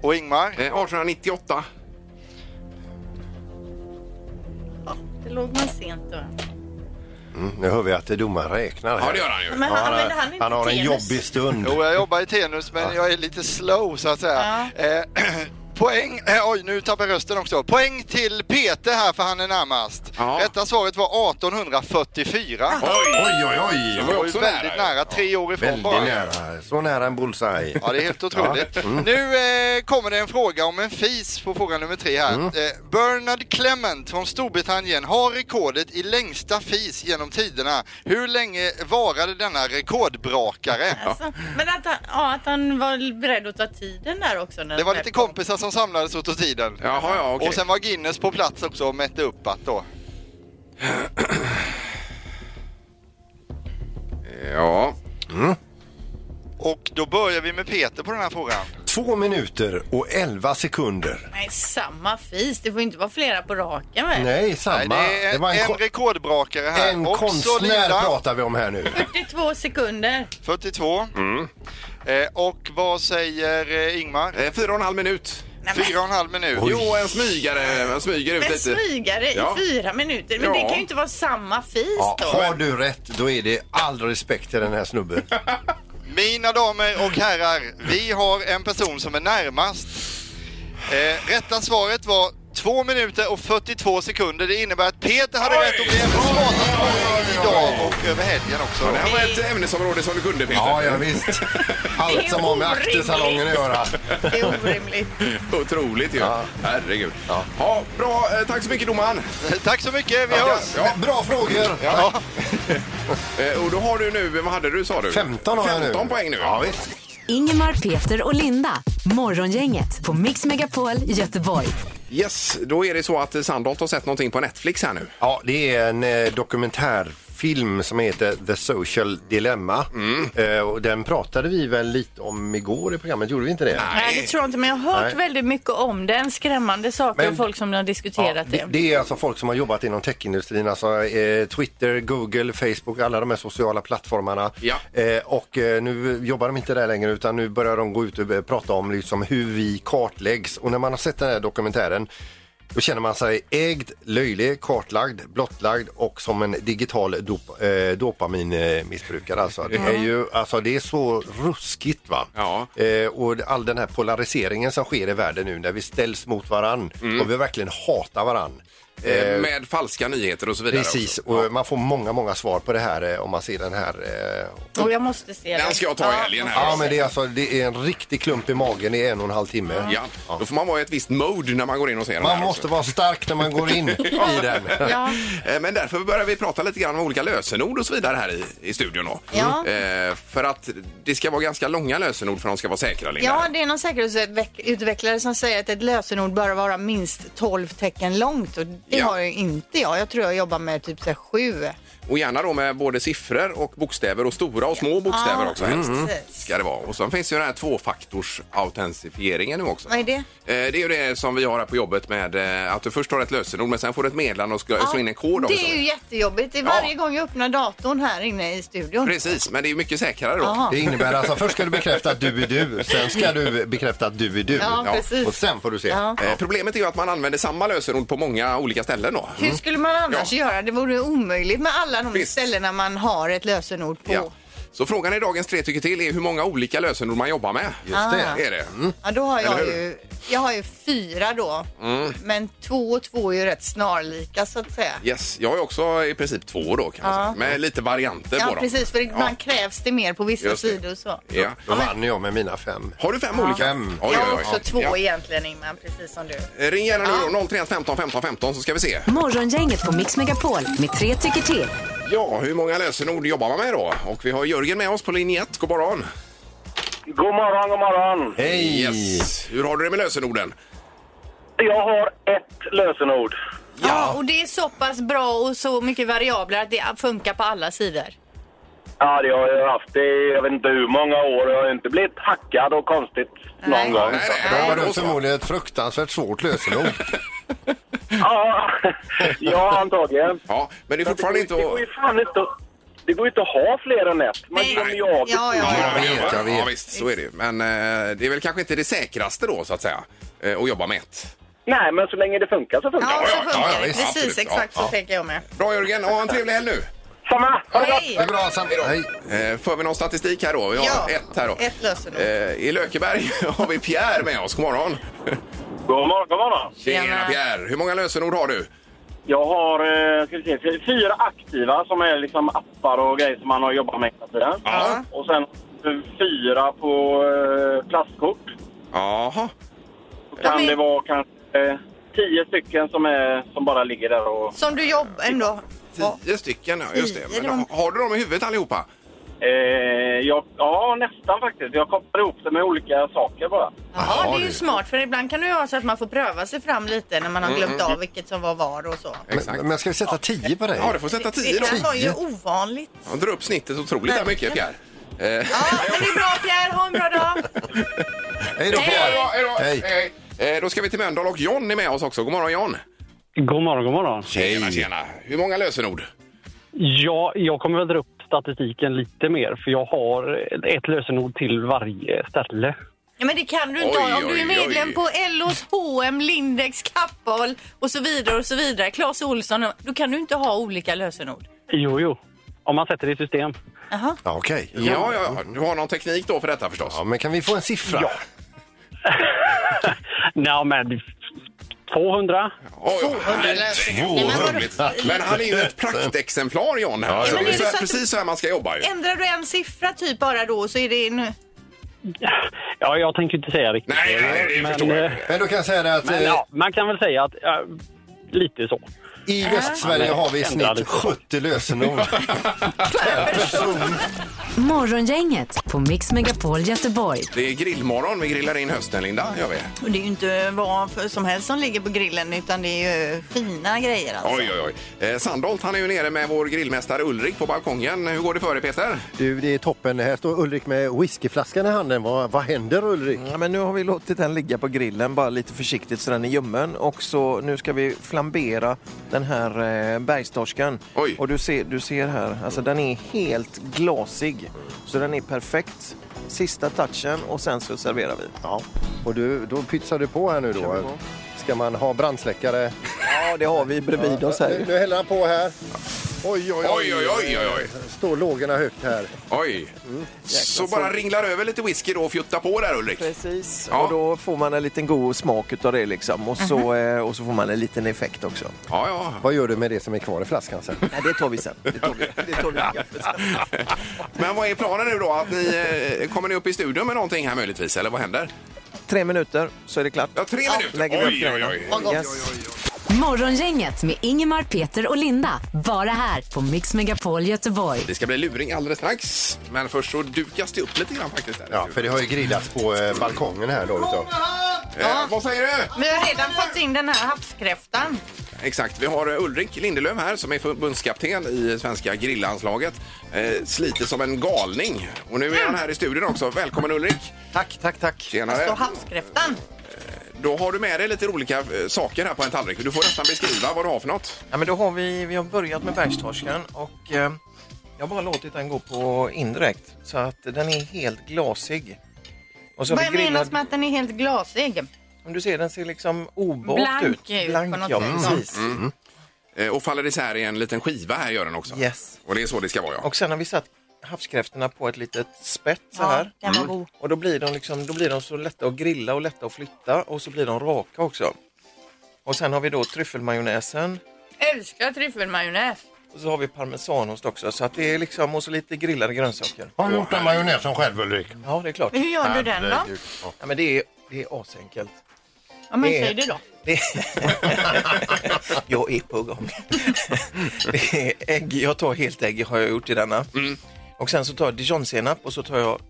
Speaker 11: och Ingmar?
Speaker 2: Eh, 1898.
Speaker 4: Det låg man sent då.
Speaker 3: Mm, nu hör vi att domaren räknar. här.
Speaker 2: Ja, det gör han ju.
Speaker 4: Men han använde han
Speaker 3: han,
Speaker 4: inte
Speaker 3: har en
Speaker 4: tenus?
Speaker 3: jobbig stund.
Speaker 11: Jo, jag jobbar i Tenus men jag är lite slow så att säga. Eh, poäng, eh, oj nu tappar jag rösten också. Poäng till Peter här för han är närmast.
Speaker 2: Ja.
Speaker 11: Rätta svaret var 1844.
Speaker 2: Oj!
Speaker 3: oj, oj!
Speaker 2: Det
Speaker 11: Det
Speaker 2: var
Speaker 11: var
Speaker 2: ju
Speaker 11: ju
Speaker 2: också
Speaker 11: väldigt
Speaker 2: nära. ju.
Speaker 11: nära, tre år ifrån
Speaker 3: Väldigt
Speaker 11: bara.
Speaker 3: nära. Så nära en bullseye.
Speaker 11: Ja, det är helt otroligt.
Speaker 3: Mm.
Speaker 11: Nu eh, kommer det en fråga om en fis på fråga nummer tre här.
Speaker 3: Mm.
Speaker 11: Eh, Bernard Clement från Storbritannien har rekordet i längsta fis genom tiderna. Hur länge varade denna rekordbrakare?
Speaker 4: Alltså, Men att han, ja, att han var beredd att ta tiden där också. När
Speaker 11: Det var
Speaker 4: den
Speaker 11: lite
Speaker 4: kom.
Speaker 11: kompisar som samlades åt tiden.
Speaker 2: Jaha, ja, okej.
Speaker 11: Och sen var Guinness på plats också och mätte upp att då.
Speaker 2: Ja.
Speaker 11: Och då börjar vi med Peter på den här frågan.
Speaker 3: Två minuter och elva sekunder.
Speaker 4: Nej, samma fis. Det får inte vara flera på raken väl?
Speaker 3: Nej, samma.
Speaker 11: Nej, det är
Speaker 3: det var en,
Speaker 11: en,
Speaker 3: kon-
Speaker 11: rekordbrakare här.
Speaker 3: en
Speaker 11: Också
Speaker 3: konstnär
Speaker 11: Linda.
Speaker 3: pratar vi om här nu.
Speaker 4: 42 sekunder.
Speaker 11: 42.
Speaker 3: Mm.
Speaker 11: Eh, och vad säger eh, Ingmar?
Speaker 2: Eh, fyra och en halv minut.
Speaker 4: Nej, men,
Speaker 11: Fyra och en halv minut.
Speaker 2: Jo, en smygare. Man smyger ut
Speaker 4: men
Speaker 2: lite.
Speaker 4: smygare
Speaker 2: Ja.
Speaker 4: i fyra minuter. Men
Speaker 2: Ja.
Speaker 4: det kan ju inte vara samma fis
Speaker 3: Ja,
Speaker 4: då.
Speaker 3: har du rätt, då är det all respekt till den här snubben.
Speaker 11: Mina damer och herrar, vi har en person som är närmast. Eh, rätta svaret var
Speaker 5: 2 minuter och 42 sekunder. Det innebär att Peter hade rätt och blev smartast i idag och över helgen också.
Speaker 2: Ja, det här var ett ämnesområde som du kunde Peter.
Speaker 3: Ja, ja visst. Allt som har med aktersalongen att göra.
Speaker 4: Det är orimligt.
Speaker 2: Otroligt ju. Herregud. Ja. bra. Eh, Tack så mycket domaren.
Speaker 5: Eh, Tack så mycket, vi hörs!
Speaker 2: Ja.
Speaker 3: Bra frågor!
Speaker 5: Ja.
Speaker 2: Eh, Och då har du nu, vad hade du sa du?
Speaker 3: 15 har jag nu.
Speaker 2: 15 poäng nu.
Speaker 3: Ja, visst.
Speaker 1: Ingemar, Peter och Linda. Morgongänget på Mix Megapol Göteborg.
Speaker 2: Yes, då är det så att eh, Sandholt har sett någonting på Netflix här nu.
Speaker 3: Ja, det är en eh, dokumentärfilm som heter The Social Dilemma. Eh, och den pratade vi väl lite om igår i programmet, gjorde vi inte det?
Speaker 4: Nej, det tror jag inte, men jag har hört
Speaker 3: Nej.
Speaker 4: väldigt mycket om den. Skrämmande saker
Speaker 3: Men-
Speaker 4: och folk som har diskuterat
Speaker 3: Ja, det,
Speaker 4: det.
Speaker 3: det är alltså folk som har jobbat inom techindustrin, alltså eh, Twitter, Google, Facebook, alla de här sociala plattformarna.
Speaker 2: Ja.
Speaker 3: Eh, och eh, nu jobbar de inte där längre utan nu börjar de gå ut och eh, prata om liksom, hur vi kartläggs. Och när man har sett den här dokumentären då känner man sig ägd, löjlig, kartlagd, blottlagd och som en digital dop, eh, dopaminmissbrukare. Alltså. Det, är ju, alltså, det är så ruskigt va?
Speaker 2: Ja.
Speaker 3: Eh, och all den här polariseringen som sker i världen nu när vi ställs mot varann
Speaker 2: Mm.
Speaker 3: och vi verkligen hatar varann.
Speaker 2: Eh, Med falska nyheter och så vidare.
Speaker 3: Precis,
Speaker 2: också. Ja.
Speaker 3: och man får många, många svar på det här eh, om man ser den här. eh,
Speaker 4: Och jag måste se det.
Speaker 2: Den ska jag ta i helgen här.
Speaker 3: Ja, men det är, alltså, det är en riktig klump i magen i en och en halv timme.
Speaker 2: Ja, då får man vara i ett visst mode när man går in och ser den
Speaker 3: Man
Speaker 2: här
Speaker 3: måste
Speaker 2: också.
Speaker 3: vara stark när man går in i den.
Speaker 4: Ja.
Speaker 2: Eh, Men därför börjar vi prata lite grann om olika lösenord och så vidare här i, i studion då.
Speaker 4: Ja.
Speaker 2: Eh, för att det ska vara ganska långa lösenord för att de ska vara säkra, Linda.
Speaker 4: Ja, det är någon säkerhetsutvecklare som säger att ett lösenord bör vara minst 12 tecken långt och det
Speaker 2: Ja.
Speaker 4: har ju inte jag. Jag tror jag jobbar med typ så här sju.
Speaker 2: Och gärna då med både siffror och bokstäver och stora och små bokstäver
Speaker 4: Ja,
Speaker 2: också Mm,
Speaker 3: Mm.
Speaker 2: helst.
Speaker 4: precis.
Speaker 2: Ska det vara. Och sen finns ju den här tvåfaktorsautentifieringen nu också.
Speaker 4: Vad är det?
Speaker 2: Eh, Det är ju det som vi har här på jobbet med eh, att du först har ett lösenord men sen får du ett meddelande och ska slå in en kod också.
Speaker 4: Det är ju jättejobbigt. Det är
Speaker 2: Ja.
Speaker 4: varje gång jag öppnar datorn här inne i studion.
Speaker 2: Precis, Mm. men det är ju mycket säkrare då.
Speaker 4: Jaha.
Speaker 3: Det innebär alltså först ska du bekräfta att du är du, sen ska du bekräfta att du är du.
Speaker 4: Ja, precis.
Speaker 3: Och sen får du se.
Speaker 4: Ja.
Speaker 2: Eh, Problemet är ju att man använder samma lösenord på många olika ställen då. Mm.
Speaker 4: Hur skulle man annars
Speaker 2: Ja.
Speaker 4: göra? Det vore omöjligt med alla de
Speaker 2: Visst.
Speaker 4: ställena man har ett lösenord på.
Speaker 2: Ja.
Speaker 4: Ja,
Speaker 2: Så frågan i dagens tre tycker till är hur många olika lösenord man jobbar med. Ah.
Speaker 3: Just det.
Speaker 2: Är det? Mm.
Speaker 4: då har jag
Speaker 2: Eller hur? Mm.
Speaker 4: ju, jag har ju fyra då. Men två och två är ju rätt snarlika så att säga.
Speaker 2: Yes, jag är också i princip två då kan man
Speaker 4: Ja.
Speaker 2: säga. Med lite varianter på
Speaker 4: Ah. Ja,
Speaker 2: dem.
Speaker 4: precis. För ibland
Speaker 2: Ja.
Speaker 4: krävs det mer på vissa
Speaker 2: Just det.
Speaker 4: sidor och så.
Speaker 2: Ja.
Speaker 3: Då vann jag med mina fem.
Speaker 2: Har du fem olika?
Speaker 3: Fem.
Speaker 2: Oj,
Speaker 4: Jag
Speaker 2: oj,
Speaker 4: har
Speaker 2: oj.
Speaker 4: också två
Speaker 2: Ja.
Speaker 4: egentligen Ingmar, precis som du.
Speaker 2: Ring gärna nu då, 031 15 15 15 så ska vi se.
Speaker 1: Morgongänget på Mix Megapol med tre tycker till.
Speaker 2: Ja, hur många lösenord jobbar man med då? Och vi har Jörgen med oss på linje 1. God morgon!
Speaker 6: God morgon, god morgon.
Speaker 3: Hej!
Speaker 2: Yes! Hur har du det med lösenorden?
Speaker 6: Jag har ett lösenord.
Speaker 4: Ja. och det är så pass bra och så mycket variabler att det funkar på alla sidor.
Speaker 6: Ja, det har jag haft i jag vet inte hur många år och jag har inte blivit hackad och konstigt någon
Speaker 4: Nej.
Speaker 6: gång.
Speaker 2: Nej, nej,
Speaker 3: Då har
Speaker 2: då
Speaker 3: du
Speaker 2: så.
Speaker 3: förmodligen ett fruktansvärt svårt lösenord.
Speaker 6: Ja, ja antagligen.
Speaker 2: Ja, men det är fortfarande
Speaker 6: det,
Speaker 2: inte
Speaker 6: går, det går ju
Speaker 2: att...
Speaker 6: fan inte att... Det går ju inte att ha fler än ett. Man
Speaker 4: Nej.
Speaker 6: glömmer ju av det.
Speaker 4: Ja, ja,
Speaker 3: Jag
Speaker 4: ja.
Speaker 3: vet, jag vet.
Speaker 2: Ja, visst, så är det ju. Men eh, det är väl kanske inte det säkraste då, så att säga, eh, att jobba med ett.
Speaker 6: Nej, men så länge det funkar så funkar
Speaker 4: Ja,
Speaker 6: det.
Speaker 4: så
Speaker 2: ja,
Speaker 4: funkar
Speaker 2: ja,
Speaker 4: det.
Speaker 2: visst,
Speaker 4: Precis,
Speaker 2: absolut.
Speaker 4: exakt
Speaker 2: Ja,
Speaker 4: så
Speaker 2: ja.
Speaker 4: tänker jag med.
Speaker 2: Bra Jörgen, och ha en trevlig helg nu!
Speaker 6: Samma! Ha det gott!
Speaker 4: Hej!
Speaker 3: Det är bra Sam. Hej.
Speaker 2: Eh, För vi någon statistik här då? Vi har
Speaker 4: Ja,
Speaker 2: ett här då.
Speaker 4: ett lösenord.
Speaker 2: Eh, I Lökeberg har vi Pierre med oss. God morgon!
Speaker 6: God morgon, god morgon.
Speaker 2: Tjena
Speaker 4: Tjena.
Speaker 2: Pierre! Hur många lösenord har du?
Speaker 6: Jag har eh, ska vi se, fy- fyra aktiva som är liksom appar och grejer som man har jobbat med hela tiden.
Speaker 2: Ja.
Speaker 6: Och sen eh, fyra på eh, plastkort.
Speaker 2: Jaha.
Speaker 6: Så kan
Speaker 4: men-
Speaker 6: det vara kanske eh, tio stycken som, är, som bara ligger där och...
Speaker 4: Som du jobbar ändå. Ja.
Speaker 2: Tio stycken, ja, just det.
Speaker 4: Tio,
Speaker 2: Men
Speaker 4: de-
Speaker 2: har- har du dem i huvudet allihopa?
Speaker 6: Eh, jag, ja, nästan faktiskt. Jag kopplar ihop det med olika saker bara.
Speaker 4: Jaha, det är ju smart för ibland kan det ju vara så att man får pröva sig fram lite när man har glömt av vilket som var var Mm, och så.
Speaker 3: Men, men ska vi sätta tio på dig?
Speaker 2: Ja, du får sätta tio då.
Speaker 4: Det här var ju ovanligt.
Speaker 2: Han drar upp snittet otroligt där mycket, Pierre. Eh,
Speaker 4: Ja, men det är bra Pierre, ha en bra dag!
Speaker 3: Hej då
Speaker 2: hej då,
Speaker 3: Pierre!
Speaker 2: hej då,
Speaker 3: Hej.
Speaker 2: hej, hej. Eh, Då ska vi till Mölndal och John är med oss också. God morgon John!
Speaker 6: God morgon, god morgon.
Speaker 2: Tjena, tjena. Hur många lösenord?
Speaker 6: Ja, jag kommer väl dra upp statistiken lite mer för jag har ett lösenord till varje ställe.
Speaker 4: Ja, men det kan du inte
Speaker 2: Oj,
Speaker 4: ha. Om du är
Speaker 2: oj,
Speaker 4: medlem
Speaker 2: oj.
Speaker 4: på LOs, H&M, Lindex, Kappahl och så vidare och så vidare. Claes Olsson, då kan du inte ha olika lösenord.
Speaker 6: Jo, jo. Om man sätter det i system.
Speaker 4: Jaha.
Speaker 3: Ja, Okej.
Speaker 2: Ja, ja, ja. Du har någon teknik då för detta förstås?
Speaker 3: Ja, men kan vi få en siffra?
Speaker 6: Ja. Nej, men 200.
Speaker 2: Oj,
Speaker 6: Nej, men vad
Speaker 2: roligt. Men han är ju ett praktexemplar, John. Här.
Speaker 4: Ja,
Speaker 2: Så
Speaker 4: men
Speaker 2: det är
Speaker 4: är det
Speaker 2: så
Speaker 4: så att-
Speaker 2: precis så här man ska jobba. Ju.
Speaker 4: Ändrar du en siffra typ bara då så är det nu...
Speaker 6: Ja, jag tänker inte säga riktigt. Nej, nej, det men, förstår
Speaker 2: eh,
Speaker 6: jag.
Speaker 3: Men du kan säga det att...
Speaker 6: Men,
Speaker 3: eh,
Speaker 6: ja, man kan väl säga att ja, lite så.
Speaker 3: I Västsverige har vi i snitt 70 lösenord.
Speaker 1: Morgongänget på Mix Megapol Göteborg.
Speaker 2: Det är grillmorgon. Vi grillar in hösten, Linda. Gör vi.
Speaker 4: Och det är ju inte vad för- som helst som ligger på grillen utan det är ju fina grejer alltså.
Speaker 2: Oj, oj, oj. Eh, Sandholt han är ju nere med vår grillmästare Ulrik på balkongen. Hur går det för dig, Peter?
Speaker 3: Du, det är toppen. Här står Ulrik med whiskyflaskan i handen. Vad, vad händer Ulrik?
Speaker 10: Ja, men nu har vi låtit den ligga på grillen bara lite försiktigt så den är ljummen och så nu ska vi flambera den här eh, bergstorsken. Och du ser, du ser här, alltså den är helt glasig. Så den är perfekt. Sista touchen och sen så serverar vi.
Speaker 3: Ja. Och du, då pytsar du Mm. på här nu då. Ska man ha brandsläckare?
Speaker 10: Ja, det har vi bredvid oss
Speaker 3: Nu,
Speaker 10: här.
Speaker 3: nu häller han på här. Oj, oj,
Speaker 2: Oj, oj, oj, oj, oj.
Speaker 3: Står lågorna högt här.
Speaker 2: Oj. Så bara ringlar över lite whisky då och fjuttar på där, Ulrik.
Speaker 10: Precis.
Speaker 2: Ja. Mhm.
Speaker 10: Och då får man en liten god smak utav det liksom. Och så, eh, och så får man en liten effekt också.
Speaker 2: Ja, ja.
Speaker 3: Vad gör du med det som är kvar i flaskan sen?
Speaker 10: Nej, det tar vi sen. Det tar vi, det tar vi i kaffet sen.
Speaker 2: Men vad är planen nu då? Att ni, eh, kommer ni upp i studion med någonting här möjligtvis, eller vad händer?
Speaker 10: Tre minuter så är det klart.
Speaker 2: Ja, tre minuter.
Speaker 10: lägger vi upp
Speaker 2: Oj,
Speaker 10: grejerna.
Speaker 2: oj, oj.
Speaker 10: Yes.
Speaker 1: Morgongänget med Ingemar, Peter och Linda. Bara här på Mix Megapol Göteborg.
Speaker 2: Det ska bli luring alldeles strax, men först så dukas det upp lite grann faktiskt. Där.
Speaker 3: Ja, för det har ju grillats på eh, balkongen här då utav.
Speaker 2: Eh, vad säger du?
Speaker 4: Vi har redan fått in den här havskräftan.
Speaker 2: Exakt, vi har eh, Ulrik Lindelöf här som är förbundskapten i svenska grillanslaget. Eh, sliter som en galning. Och nu är han här i studion också. Välkommen Ulrik!
Speaker 10: Tack, tack, tack!
Speaker 2: Tjenare!
Speaker 4: Alltså havskräftan.
Speaker 2: Då har du med dig lite olika eh, saker här på en tallrik. Du får nästan beskriva vad du har för något.
Speaker 10: Ja, men då har vi, vi har börjat med bergstorsken och eh, jag har bara låtit den gå på indirekt så att den är helt glasig. Och så har vi
Speaker 4: Vad menas
Speaker 10: grillat-
Speaker 4: med att den är helt glasig?
Speaker 10: Om du ser den ser liksom obakt
Speaker 4: Blank
Speaker 10: ut.
Speaker 4: ut på något
Speaker 10: ja,
Speaker 4: sätt.
Speaker 10: precis.
Speaker 2: Eh, och faller isär i en liten skiva här gör den också.
Speaker 10: Yes.
Speaker 2: Och det är så det ska vara ja.
Speaker 10: Och sen har vi satt havskräftorna på ett litet spett så
Speaker 4: Ja,
Speaker 10: här.
Speaker 4: den var god.
Speaker 10: Och då blir, de liksom, då blir de så lätta att grilla och lätta att flytta och så blir de raka också. Och sen har vi då tryffelmajonnäsen
Speaker 4: Älskar tryffelmajonnäs.
Speaker 10: och så har vi parmesanost också så att det är liksom och så lite grillade grönsaker.
Speaker 3: Har du gjort en majonnäsen själv Ulrik?
Speaker 10: Ja, det är klart.
Speaker 4: Hur gör du den då?
Speaker 3: Herregud. Ja.
Speaker 10: Ja, men det är, det är asenkelt.
Speaker 4: Ja, men
Speaker 10: det är-
Speaker 4: säg det då.
Speaker 10: Det jag är på gång. det är ägg. Jag tar helt ägg har jag gjort i denna.
Speaker 4: Mm.
Speaker 10: Och sen så tar jag dijonsenap och så tar jag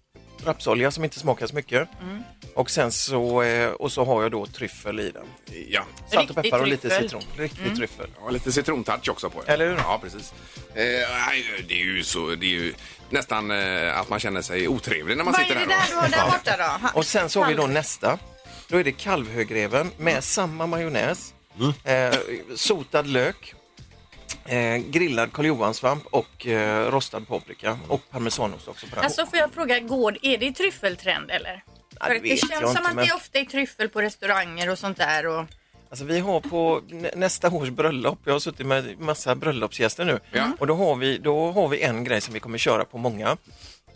Speaker 10: rapsolja som inte smakar så mycket.
Speaker 4: Mm.
Speaker 10: Och sen så, eh, och så har jag då tryffel i den.
Speaker 2: ja.
Speaker 10: Salt och peppar och lite
Speaker 4: tryffel. Mm.
Speaker 10: citron. Riktig tryffel.
Speaker 2: Ja, lite citrontouch också på det.
Speaker 10: Eller hur?
Speaker 2: Ja, precis. Eh, nej, det är ju så, det är ju nästan eh, att man känner sig otrevlig när man
Speaker 4: Vad är
Speaker 2: sitter
Speaker 4: det
Speaker 2: här.
Speaker 4: där du
Speaker 2: då.
Speaker 4: har där borta då? Ha-
Speaker 10: Och sen så har vi då
Speaker 4: Kalv- Mm.
Speaker 10: nästa. Då är det kalvhögreven med samma majonnäs, eh, sotad lök, eh, grillad karljohanssvamp och eh, rostad paprika och parmesanost också på den.
Speaker 4: Alltså får jag fråga, Gård, är det tryffeltrend eller?
Speaker 10: Ja,
Speaker 4: För
Speaker 10: det
Speaker 4: att det
Speaker 10: vet jag
Speaker 4: känns som
Speaker 10: inte,
Speaker 4: att
Speaker 10: men-
Speaker 4: det ofta är tryffel på restauranger och sånt där. Och...
Speaker 10: Alltså vi har på nä- nästa års bröllop, jag har suttit med massa bröllopsgäster nu
Speaker 2: Ja.
Speaker 10: och då har, vi, då har vi en grej som vi kommer köra på många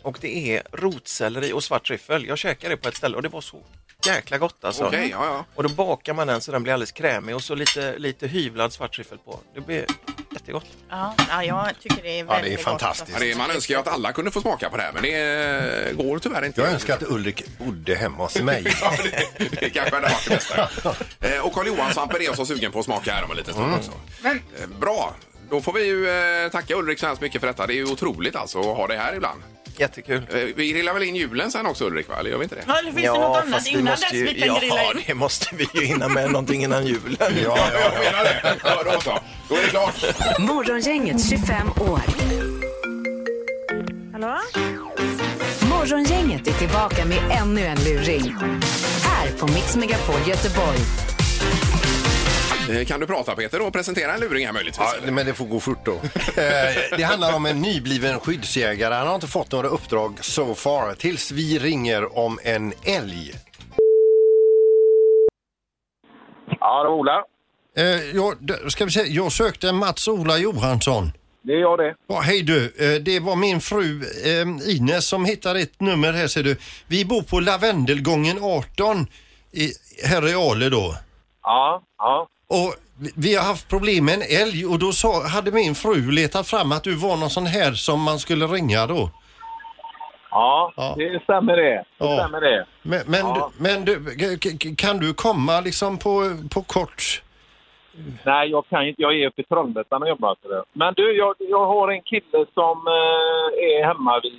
Speaker 10: och det är rotselleri och svart tryffel. Jag käkade det på ett ställe och det var så jäkla gott alltså.
Speaker 2: Okej, ja, ja.
Speaker 10: Och då bakar man den så den blir alldeles krämig och så lite, lite hyvlad svart tryffel på. Det blir jättegott.
Speaker 4: Ja, ja, jag tycker det är väldigt
Speaker 3: Ja, det är
Speaker 4: gott. alltså.
Speaker 2: Ja,
Speaker 3: fantastiskt.
Speaker 2: det är, man önskar ju att alla kunde få smaka på det här, men det eh, går tyvärr inte.
Speaker 3: Jag önskar att Ulrik bodde hemma hos mig.
Speaker 2: Ja, det, det kanske hade varit det bästa. Eh, och Carl Johan Svamper är jag så sugen på att smaka här om en liten stund
Speaker 11: Mm.
Speaker 2: också.
Speaker 4: Men-
Speaker 2: Eh, bra, då får vi ju eh, tacka Ulrik så hemskt mycket för detta. Det är ju otroligt alltså att ha det här ibland.
Speaker 10: Jättekul.
Speaker 2: Eh, vi grillar väl in julen sen också Ulrik, va? Eller gör vi inte det?
Speaker 4: Ja, eller finns det något annat
Speaker 10: fast vi
Speaker 4: innan
Speaker 10: måste
Speaker 4: dess
Speaker 10: ju-
Speaker 4: vi kan
Speaker 10: ja,
Speaker 4: grilla in?
Speaker 10: det måste vi ju hinna med någonting innan julen.
Speaker 3: Ja, ja.
Speaker 2: Jag menar det. Ja, då så. Då är det klart.
Speaker 1: Morgongänget 25 år.
Speaker 8: Hallå?
Speaker 1: Morgongänget är tillbaka med ännu en luring. Här på Mix Megapol Göteborg.
Speaker 2: Eh, Kan du prata Peter och presentera en luring här möjligtvis?
Speaker 3: Ja,
Speaker 2: eller?
Speaker 3: men det får gå fort då. Eh, Det handlar om en nybliven skyddsjägare. Han har inte fått några uppdrag so far tills vi ringer om en älg.
Speaker 6: Ja, det var Ola.
Speaker 3: Eh, Jag, d- ska vi se, jag sökte Mats-Ola Johansson.
Speaker 6: Det är jag det.
Speaker 3: Ja, hej du, Eh, det var min fru eh, Ines som hittade ett nummer här ser du. Vi bor på Lavendelgången 18 i, här i Ale då.
Speaker 6: Ja, ja.
Speaker 3: Och vi- vi har haft problem med en älg och då sa, hade min fru letat fram att du var någon sån här som man skulle ringa då.
Speaker 6: Ja, det stämmer det. Det
Speaker 3: Ja.
Speaker 6: stämmer det.
Speaker 3: Men, men,
Speaker 6: Ja.
Speaker 3: du- men du, k- k- kan du komma liksom på, på kort?
Speaker 6: Nej, jag kan ju inte. Jag är uppe i Trollhättan och jobbar. För det. Men du, jag, jag har en kille som eh, är hemma vid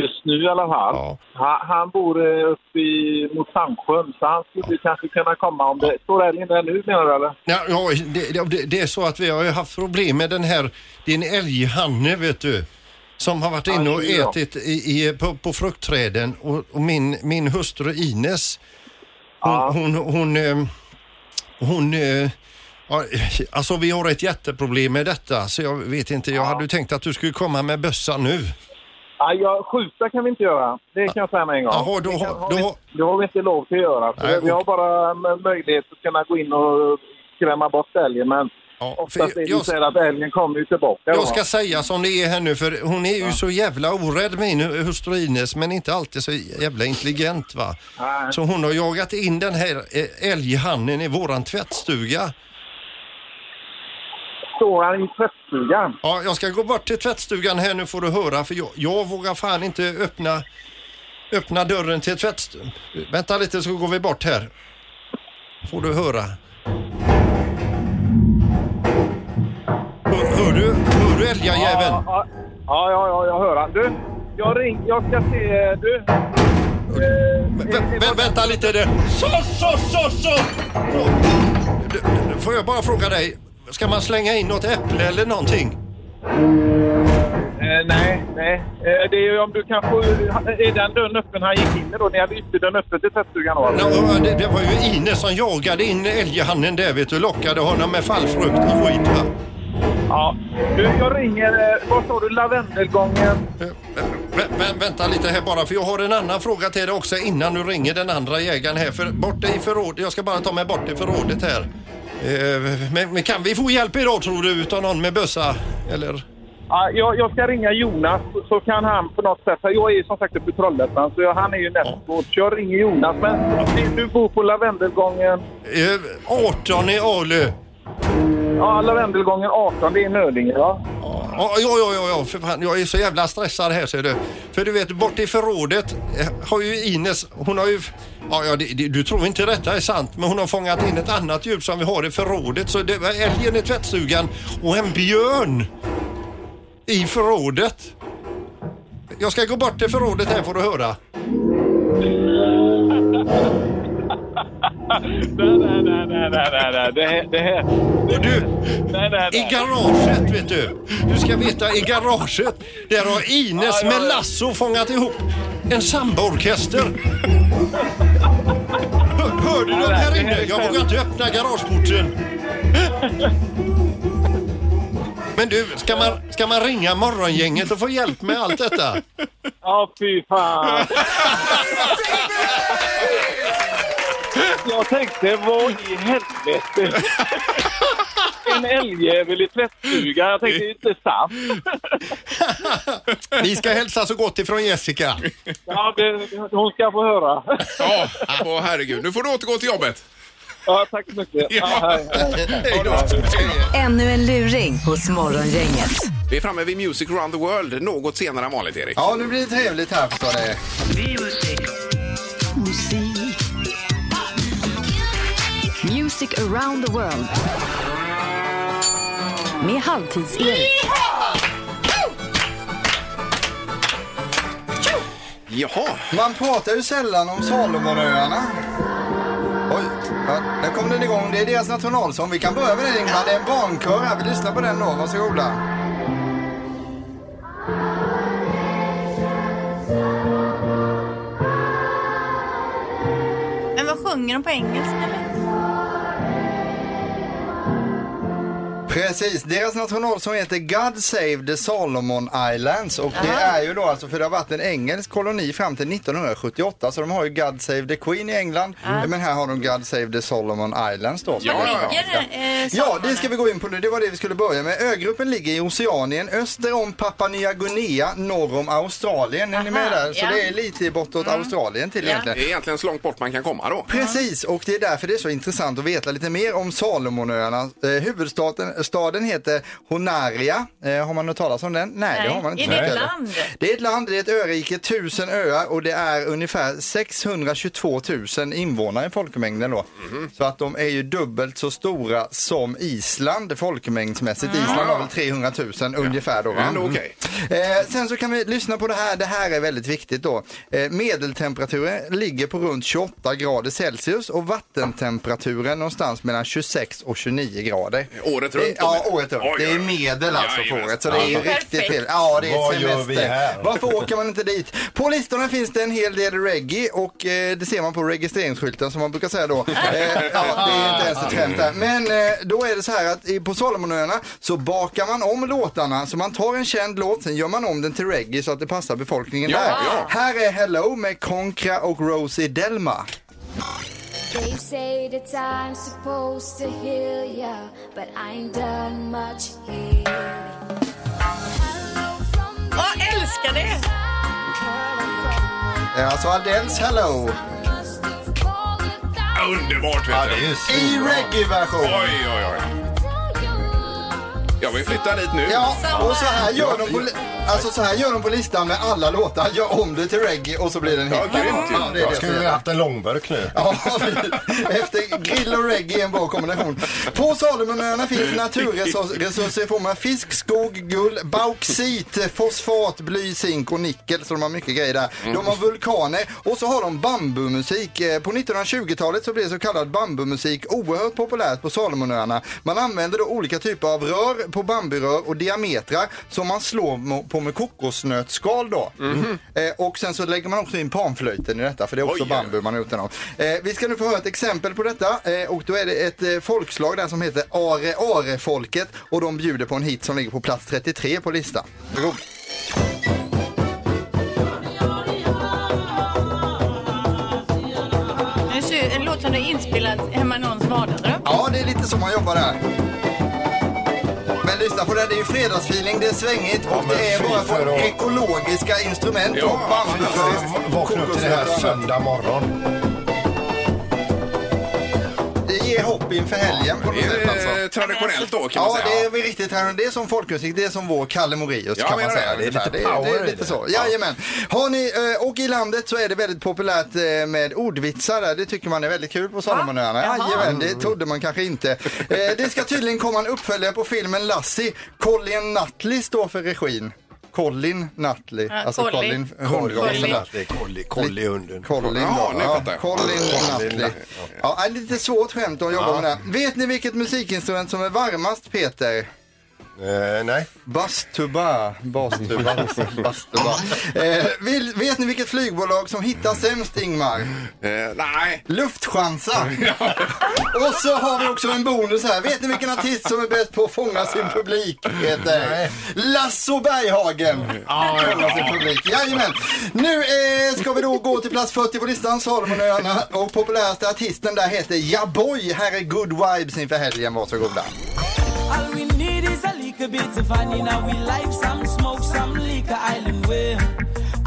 Speaker 6: just nu i alla fall. Han, han bor eh, uppe i, mot Sandsjön, så han skulle kanske kunna komma om det... Står älgen där nu menar du eller?
Speaker 3: Ja, ja det, det, det är så att vi har ju haft problem med den här, din älghanne vet du. Som har varit inne och
Speaker 6: Ja.
Speaker 3: ätit i, i, på, på fruktträden och, och min, min hustru Ines hon, hon, hon, eh, hon eh, ja, alltså vi har ett jätteproblem med detta så jag vet inte, jag hade ju tänkt att du skulle komma med bössa nu.
Speaker 6: Nej, jag, skjuta kan vi inte göra. Det kan jag säga med en gång.
Speaker 3: Jaha, då
Speaker 6: det,
Speaker 3: har-
Speaker 6: kan, har
Speaker 3: då
Speaker 6: vi,
Speaker 3: har-
Speaker 6: det har vi inte lov till att göra. För
Speaker 3: Nej,
Speaker 6: vi har
Speaker 3: okej.
Speaker 6: bara m- möjlighet att kunna gå in och skrämma bort älgen. Men
Speaker 3: Ja, för
Speaker 6: oftast är det
Speaker 3: jag-
Speaker 6: ju så här att älgen kommer ju tillbaka. va?
Speaker 3: Jag ska säga som det är här nu för hon är ju så jävla orädd min hustru Ines men inte alltid så jävla intelligent va.
Speaker 6: Nej.
Speaker 3: Så hon har jagat in den här eh, älghannen i våran tvättstuga.
Speaker 6: Står han i tvättstugan?
Speaker 3: Ja, jag ska gå bort till tvättstugan här nu får du höra för jag, jag vågar fan inte öppna, öppna dörren till tvättstugan. Vänta lite så går vi bort här. Får du höra. Hör, hör du? Hör du älgajäveln?
Speaker 6: Ja, ja, ja, ja, jag hör han. Du, jag ring, jag ska se... Du... Eh,
Speaker 3: Vä- vä- vänta lite där. Så, så, så, så! Du- du- Får jag bara fråga dig, ska man slänga in något äpple eller någonting?
Speaker 6: eh, nej, nej. Eh, det är ju om du kan få... eh, Är den dörren öppen han gick in i då? Ni hade ytterdörren öppen till tvättstugan då? eller?
Speaker 3: Ja, Det, det var ju Ines som jagade in älghannen där vet du, lockade honom med fallfrukt och skit va?
Speaker 6: Ja. Du, jag ringer... eh, Vad sa du? Lavendelgången?
Speaker 3: Eh, Vä, vä, vänta lite här bara, för jag har en annan fråga till dig också innan du ringer den andra jägaren här. För borta i förrådet, jag ska bara ta mig bort i förrådet här. Eh, Men, men kan vi få hjälp idag tror du, utan någon med bössa? Eller?
Speaker 6: Ja, jag, jag ska ringa Jonas så- så kan han på något sätt... Jag är ju som sagt uppe i Trollhättan så jag, han är ju nästgård. Så jag ringer Jonas. Men du- du bor på Lavendelgången...
Speaker 3: Eh, 18 i Alu.
Speaker 6: Ja, Lavendelgången 18. Det är Nödinge va?
Speaker 3: Ja, ja, ja, ja, ja, för fan, jag är så jävla stressad här ser du. För du vet, bort i förrådet eh, har ju Ines, hon har ju... Ja, ja, det, det, du tror inte detta är sant, men hon har fångat in ett annat djur som vi har i förrådet. Så det var älgen i tvättstugan och en björn i förrådet. Jag ska gå bort till förrådet här får du höra.
Speaker 6: Nej, nej, nej, nej, nej, nej, nej. Det här... Det här.
Speaker 3: Och du,
Speaker 6: Nej, nej,
Speaker 3: i garaget vet du. Du ska veta, i garaget, där har Ines
Speaker 6: Ja, ja,
Speaker 3: med
Speaker 6: ja.
Speaker 3: lasso fångat ihop en sambaorkester. Hör- Hörde du dem här inne? Jag vågar inte öppna garageporten. Men du, ska man, ska man ringa morgongänget och få hjälp med allt detta?
Speaker 6: Ja, fy fan. Jag tänkte, vad i helvete? En älgjävel i tvättstugan. Jag tänkte, det är inte sant.
Speaker 3: Vi ska hälsa så gott ifrån Jessica.
Speaker 6: Ja, det, hon ska få höra.
Speaker 2: Ja, åh herregud. Nu får du återgå till jobbet.
Speaker 6: Ja, tack så mycket. Ja, hej, hej.
Speaker 2: Hej då.
Speaker 1: Ännu en luring hos Morgongänget.
Speaker 2: Vi är framme vid Music Around the World något senare än vanligt, Erik.
Speaker 11: Ja, nu blir det trevligt här förstår ni.
Speaker 1: Music around the world. Med Halvtids-Erik.
Speaker 2: Jaha.
Speaker 11: Man pratar ju sällan om Salomonöarna. Oj, ja, där kom den igång. Det är deras nationalsång. Vi kan börja med den Ingmar. Det är en barnkör här. Vi lyssnar på den då. Varsågoda.
Speaker 4: Men vad sjunger de på engelska? eller?
Speaker 11: Precis, deras nationalsång heter God Save the Solomon Islands och det är ju då alltså för det har varit en engelsk koloni fram till 1978 så de har ju God Save the Queen i England men här har de God Save the Solomon Islands då.
Speaker 7: Ja, ja, ja.
Speaker 11: Ja, det ska vi gå in på nu. Det var det vi skulle börja med. Ögruppen ligger i Oceanien öster om Papua Nya Guinea norr om Australien. Är ni med där? Så
Speaker 2: ja.
Speaker 11: det är lite bortåt Australien till
Speaker 2: Det
Speaker 11: egentligen.
Speaker 2: är egentligen så långt bort man kan komma då.
Speaker 11: Precis, och det är därför det är så intressant att veta lite mer om Salomonöarna. Eh, huvudstaden staden heter Honaria. Eh, har man hört talas om den? Nej, det har man inte.
Speaker 4: Är det ett
Speaker 11: Nej.
Speaker 4: land?
Speaker 11: Det är ett land, det är ett örike, tusen öar och det är ungefär 622 000 invånare i folkmängden då. Så att de är ju dubbelt så stora som Island folkmängdsmässigt. Island har väl 300 000 ungefär då. va?
Speaker 2: Ändå okej.
Speaker 11: Eh, sen så kan vi lyssna på det här. Det här är väldigt viktigt då. Eh, medeltemperaturen ligger på runt 28 grader Celsius och vattentemperaturen någonstans mellan 26 och 29 grader.
Speaker 2: Året
Speaker 11: Det-
Speaker 2: runt?
Speaker 11: Ja, året runt.
Speaker 2: Oj,
Speaker 11: Det är
Speaker 2: oj, oj.
Speaker 11: medel alltså på
Speaker 2: Jajamän.
Speaker 11: året. Så det är ju
Speaker 2: Ja.
Speaker 11: riktigt
Speaker 2: Perfekt.
Speaker 11: fel. Ja, det är
Speaker 2: Vad gör
Speaker 11: semester.
Speaker 2: vi här?
Speaker 11: Varför åker man inte dit? På listorna finns det en hel del reggae och eh, det ser man på registreringsskylten som man brukar säga då. Eh, ja, det är inte ens ett skämt där. Men eh, då är det så här att i- på Salomonöarna så bakar man om låtarna. Så man tar en känd låt, sen gör man om den till reggae så att det passar befolkningen
Speaker 7: Ja,
Speaker 11: där.
Speaker 7: ja.
Speaker 11: Här är Hello med Konkra och Rosie Delma.
Speaker 12: They say the time's supposed to heal ya, but I ain't done much healing.
Speaker 4: Jag älskar det!
Speaker 11: Eh, Alltså Adels Hello.
Speaker 2: Underbart vet ja,
Speaker 11: det I reggae-version.
Speaker 2: Oj, oj, oj. Jag vill flytta dit nu.
Speaker 11: Ja, och så här gör de på, li- alltså så här gör de på listan med alla låtar. Gör om det till reggae och så blir den hit.
Speaker 3: Ja, grymt ju.
Speaker 11: det är
Speaker 3: Jag skulle
Speaker 11: det som
Speaker 3: vilja
Speaker 11: gäller.
Speaker 3: haft en långburk nu.
Speaker 11: Ja, Efter grill och reggae är en bra kombination. På Salomonöarna finns naturresurser i form av fisk, skog, guld, bauxit, fosfat, bly, zink och nickel. Så de har mycket grejer där. De har vulkaner och så har de bambumusik. Eh, På 1920-talet så blev så kallad bambumusik oerhört populärt på Salomonöarna. Man använder då olika typer av rör på bamburör och diametrar som man slår mo- på med kokosnötsskal då.
Speaker 7: Mhm.
Speaker 11: Eh, Och sen så lägger man också in panflöjten i detta för det är också
Speaker 7: Oj.
Speaker 11: bambu man har gjort den av. Eh, vi ska nu få höra ett exempel på detta eh, och då är det ett eh, folkslag där som heter Are Are-folket och de bjuder på en hit som ligger på plats 33 på listan. Varsågod.
Speaker 4: Det ser ju- Det låter som det är inspelat hemma i någons vardagsrum.
Speaker 11: Ja, det är lite så man jobbar där. Men lyssna på det, här, det är ju fredagsfeeling, det är svängigt och det är bara på ekologiska instrument och bambu.
Speaker 3: Vakna upp till det här
Speaker 11: kokosnötter.
Speaker 3: söndag morgon.
Speaker 11: Det ger hopp inför helgen på något
Speaker 2: det är,
Speaker 11: sätt alltså.
Speaker 2: eh, traditionellt då, kan
Speaker 11: ja,
Speaker 2: man säga.
Speaker 11: Ja, det är riktigt traditionellt. Det är som folkmusik, det är som vår Kalle Moraeus
Speaker 2: Ja,
Speaker 11: kan
Speaker 2: men
Speaker 11: man
Speaker 2: det
Speaker 11: säga.
Speaker 2: är det.
Speaker 11: ungefär.
Speaker 2: Lite power
Speaker 11: det,
Speaker 2: i
Speaker 11: är
Speaker 2: det.
Speaker 11: lite så. Jajamän. Har ni, eh, och i landet så är det väldigt populärt eh, med ordvitsar där. Det tycker man är väldigt kul på Salomonöarna.
Speaker 7: Jaha.
Speaker 11: Jajamän,
Speaker 2: Mm.
Speaker 11: det trodde man kanske inte. Eh, Det ska tydligen komma en uppföljare på filmen Lassie. Colin Nutley står för regin. Colin Nutley. Alltså
Speaker 3: Ja, Colin. Colin Nutley, Colin, Colin hunden.
Speaker 11: Colin,
Speaker 3: Ja,
Speaker 11: då.
Speaker 3: nu
Speaker 11: ja,
Speaker 3: fattar jag.
Speaker 11: Colin
Speaker 3: Colin
Speaker 11: Nutley. Ja, det är lite svårt skämt att jobba
Speaker 3: Ja.
Speaker 11: med det här. Vet ni vilket musikinstrument som är varmast, Peter?
Speaker 3: Eh, nej.
Speaker 11: Bastuba. Bastuba. Bastuba. Eh, vill, vet ni vilket flygbolag som hittar sämst, Ingmar?
Speaker 2: Eh, nej.
Speaker 11: Luftchansa. Och så har vi också en bonus här. Vet ni vilken artist som är bäst på att fånga sin publik? Peter? Lasso Berghagen.
Speaker 7: Ja, ja,
Speaker 11: Fånga sin
Speaker 7: ja.
Speaker 11: publik. Jajamän. Nu eh, ska vi då gå till plats 40 på listan, Salomonöarna. Och populäraste artisten där heter Jaboy. Här är Good Vibes inför helgen. Varsågoda.
Speaker 13: All we need is a little bit of honey. Now we like some smoke, some liquor, island way.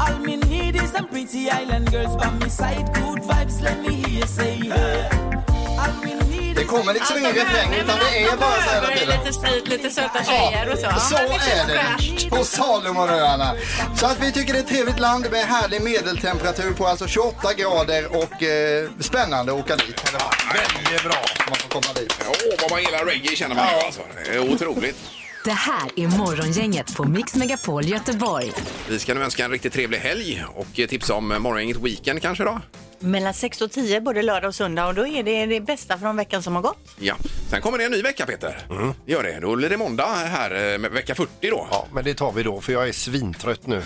Speaker 13: All me need is some pretty island girls by my side. Good vibes, let me hear you say yeah. All we need
Speaker 11: Det kommer liksom ingen refräng utan det är bara så här hela tiden.
Speaker 4: Lite, strid, lite söta tjejer och så. Ja,
Speaker 11: Så
Speaker 4: men känns
Speaker 11: är det
Speaker 4: fräscht.
Speaker 11: på Salomonöarna. Så att vi tycker det är ett trevligt land med härlig medeltemperatur på alltså 28 grader och eh, spännande att åka dit.
Speaker 2: Väldigt bra.
Speaker 11: Man får komma dit.
Speaker 2: Åh, vad man gillar reggae känner man ju alltså. Det är otroligt.
Speaker 1: Det här är Morgongänget på Mix Megapol Göteborg.
Speaker 2: Vi ska nu önska en riktigt trevlig helg och eh, tipsa om eh, morgongänget Weekend kanske då.
Speaker 4: Mellan 6 och 10 både lördag och söndag och då är det det bästa från veckan som har gått.
Speaker 2: Ja, sen kommer det en ny vecka Peter. Gör det. Då blir det måndag här, eh, med vecka 40 då.
Speaker 3: Ja, men det tar vi då för jag är svintrött nu.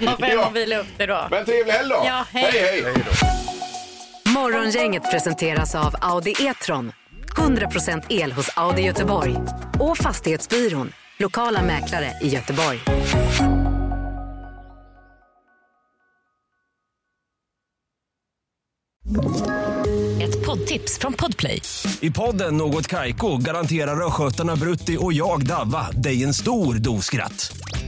Speaker 4: Man får hem och vila upp det då.
Speaker 2: Men trevlig helg då.
Speaker 4: Ja, hej.
Speaker 2: hej.
Speaker 1: Morgongänget presenteras av Audi E-tron. 100% el hos Audi Göteborg. Och Fastighetsbyrån, lokala mäklare i Göteborg. Ett poddtips från Podplay.
Speaker 6: I podden Något Kaiko garanterar östgötarna Brutti och jag, Davva, dig en stor dos skratt.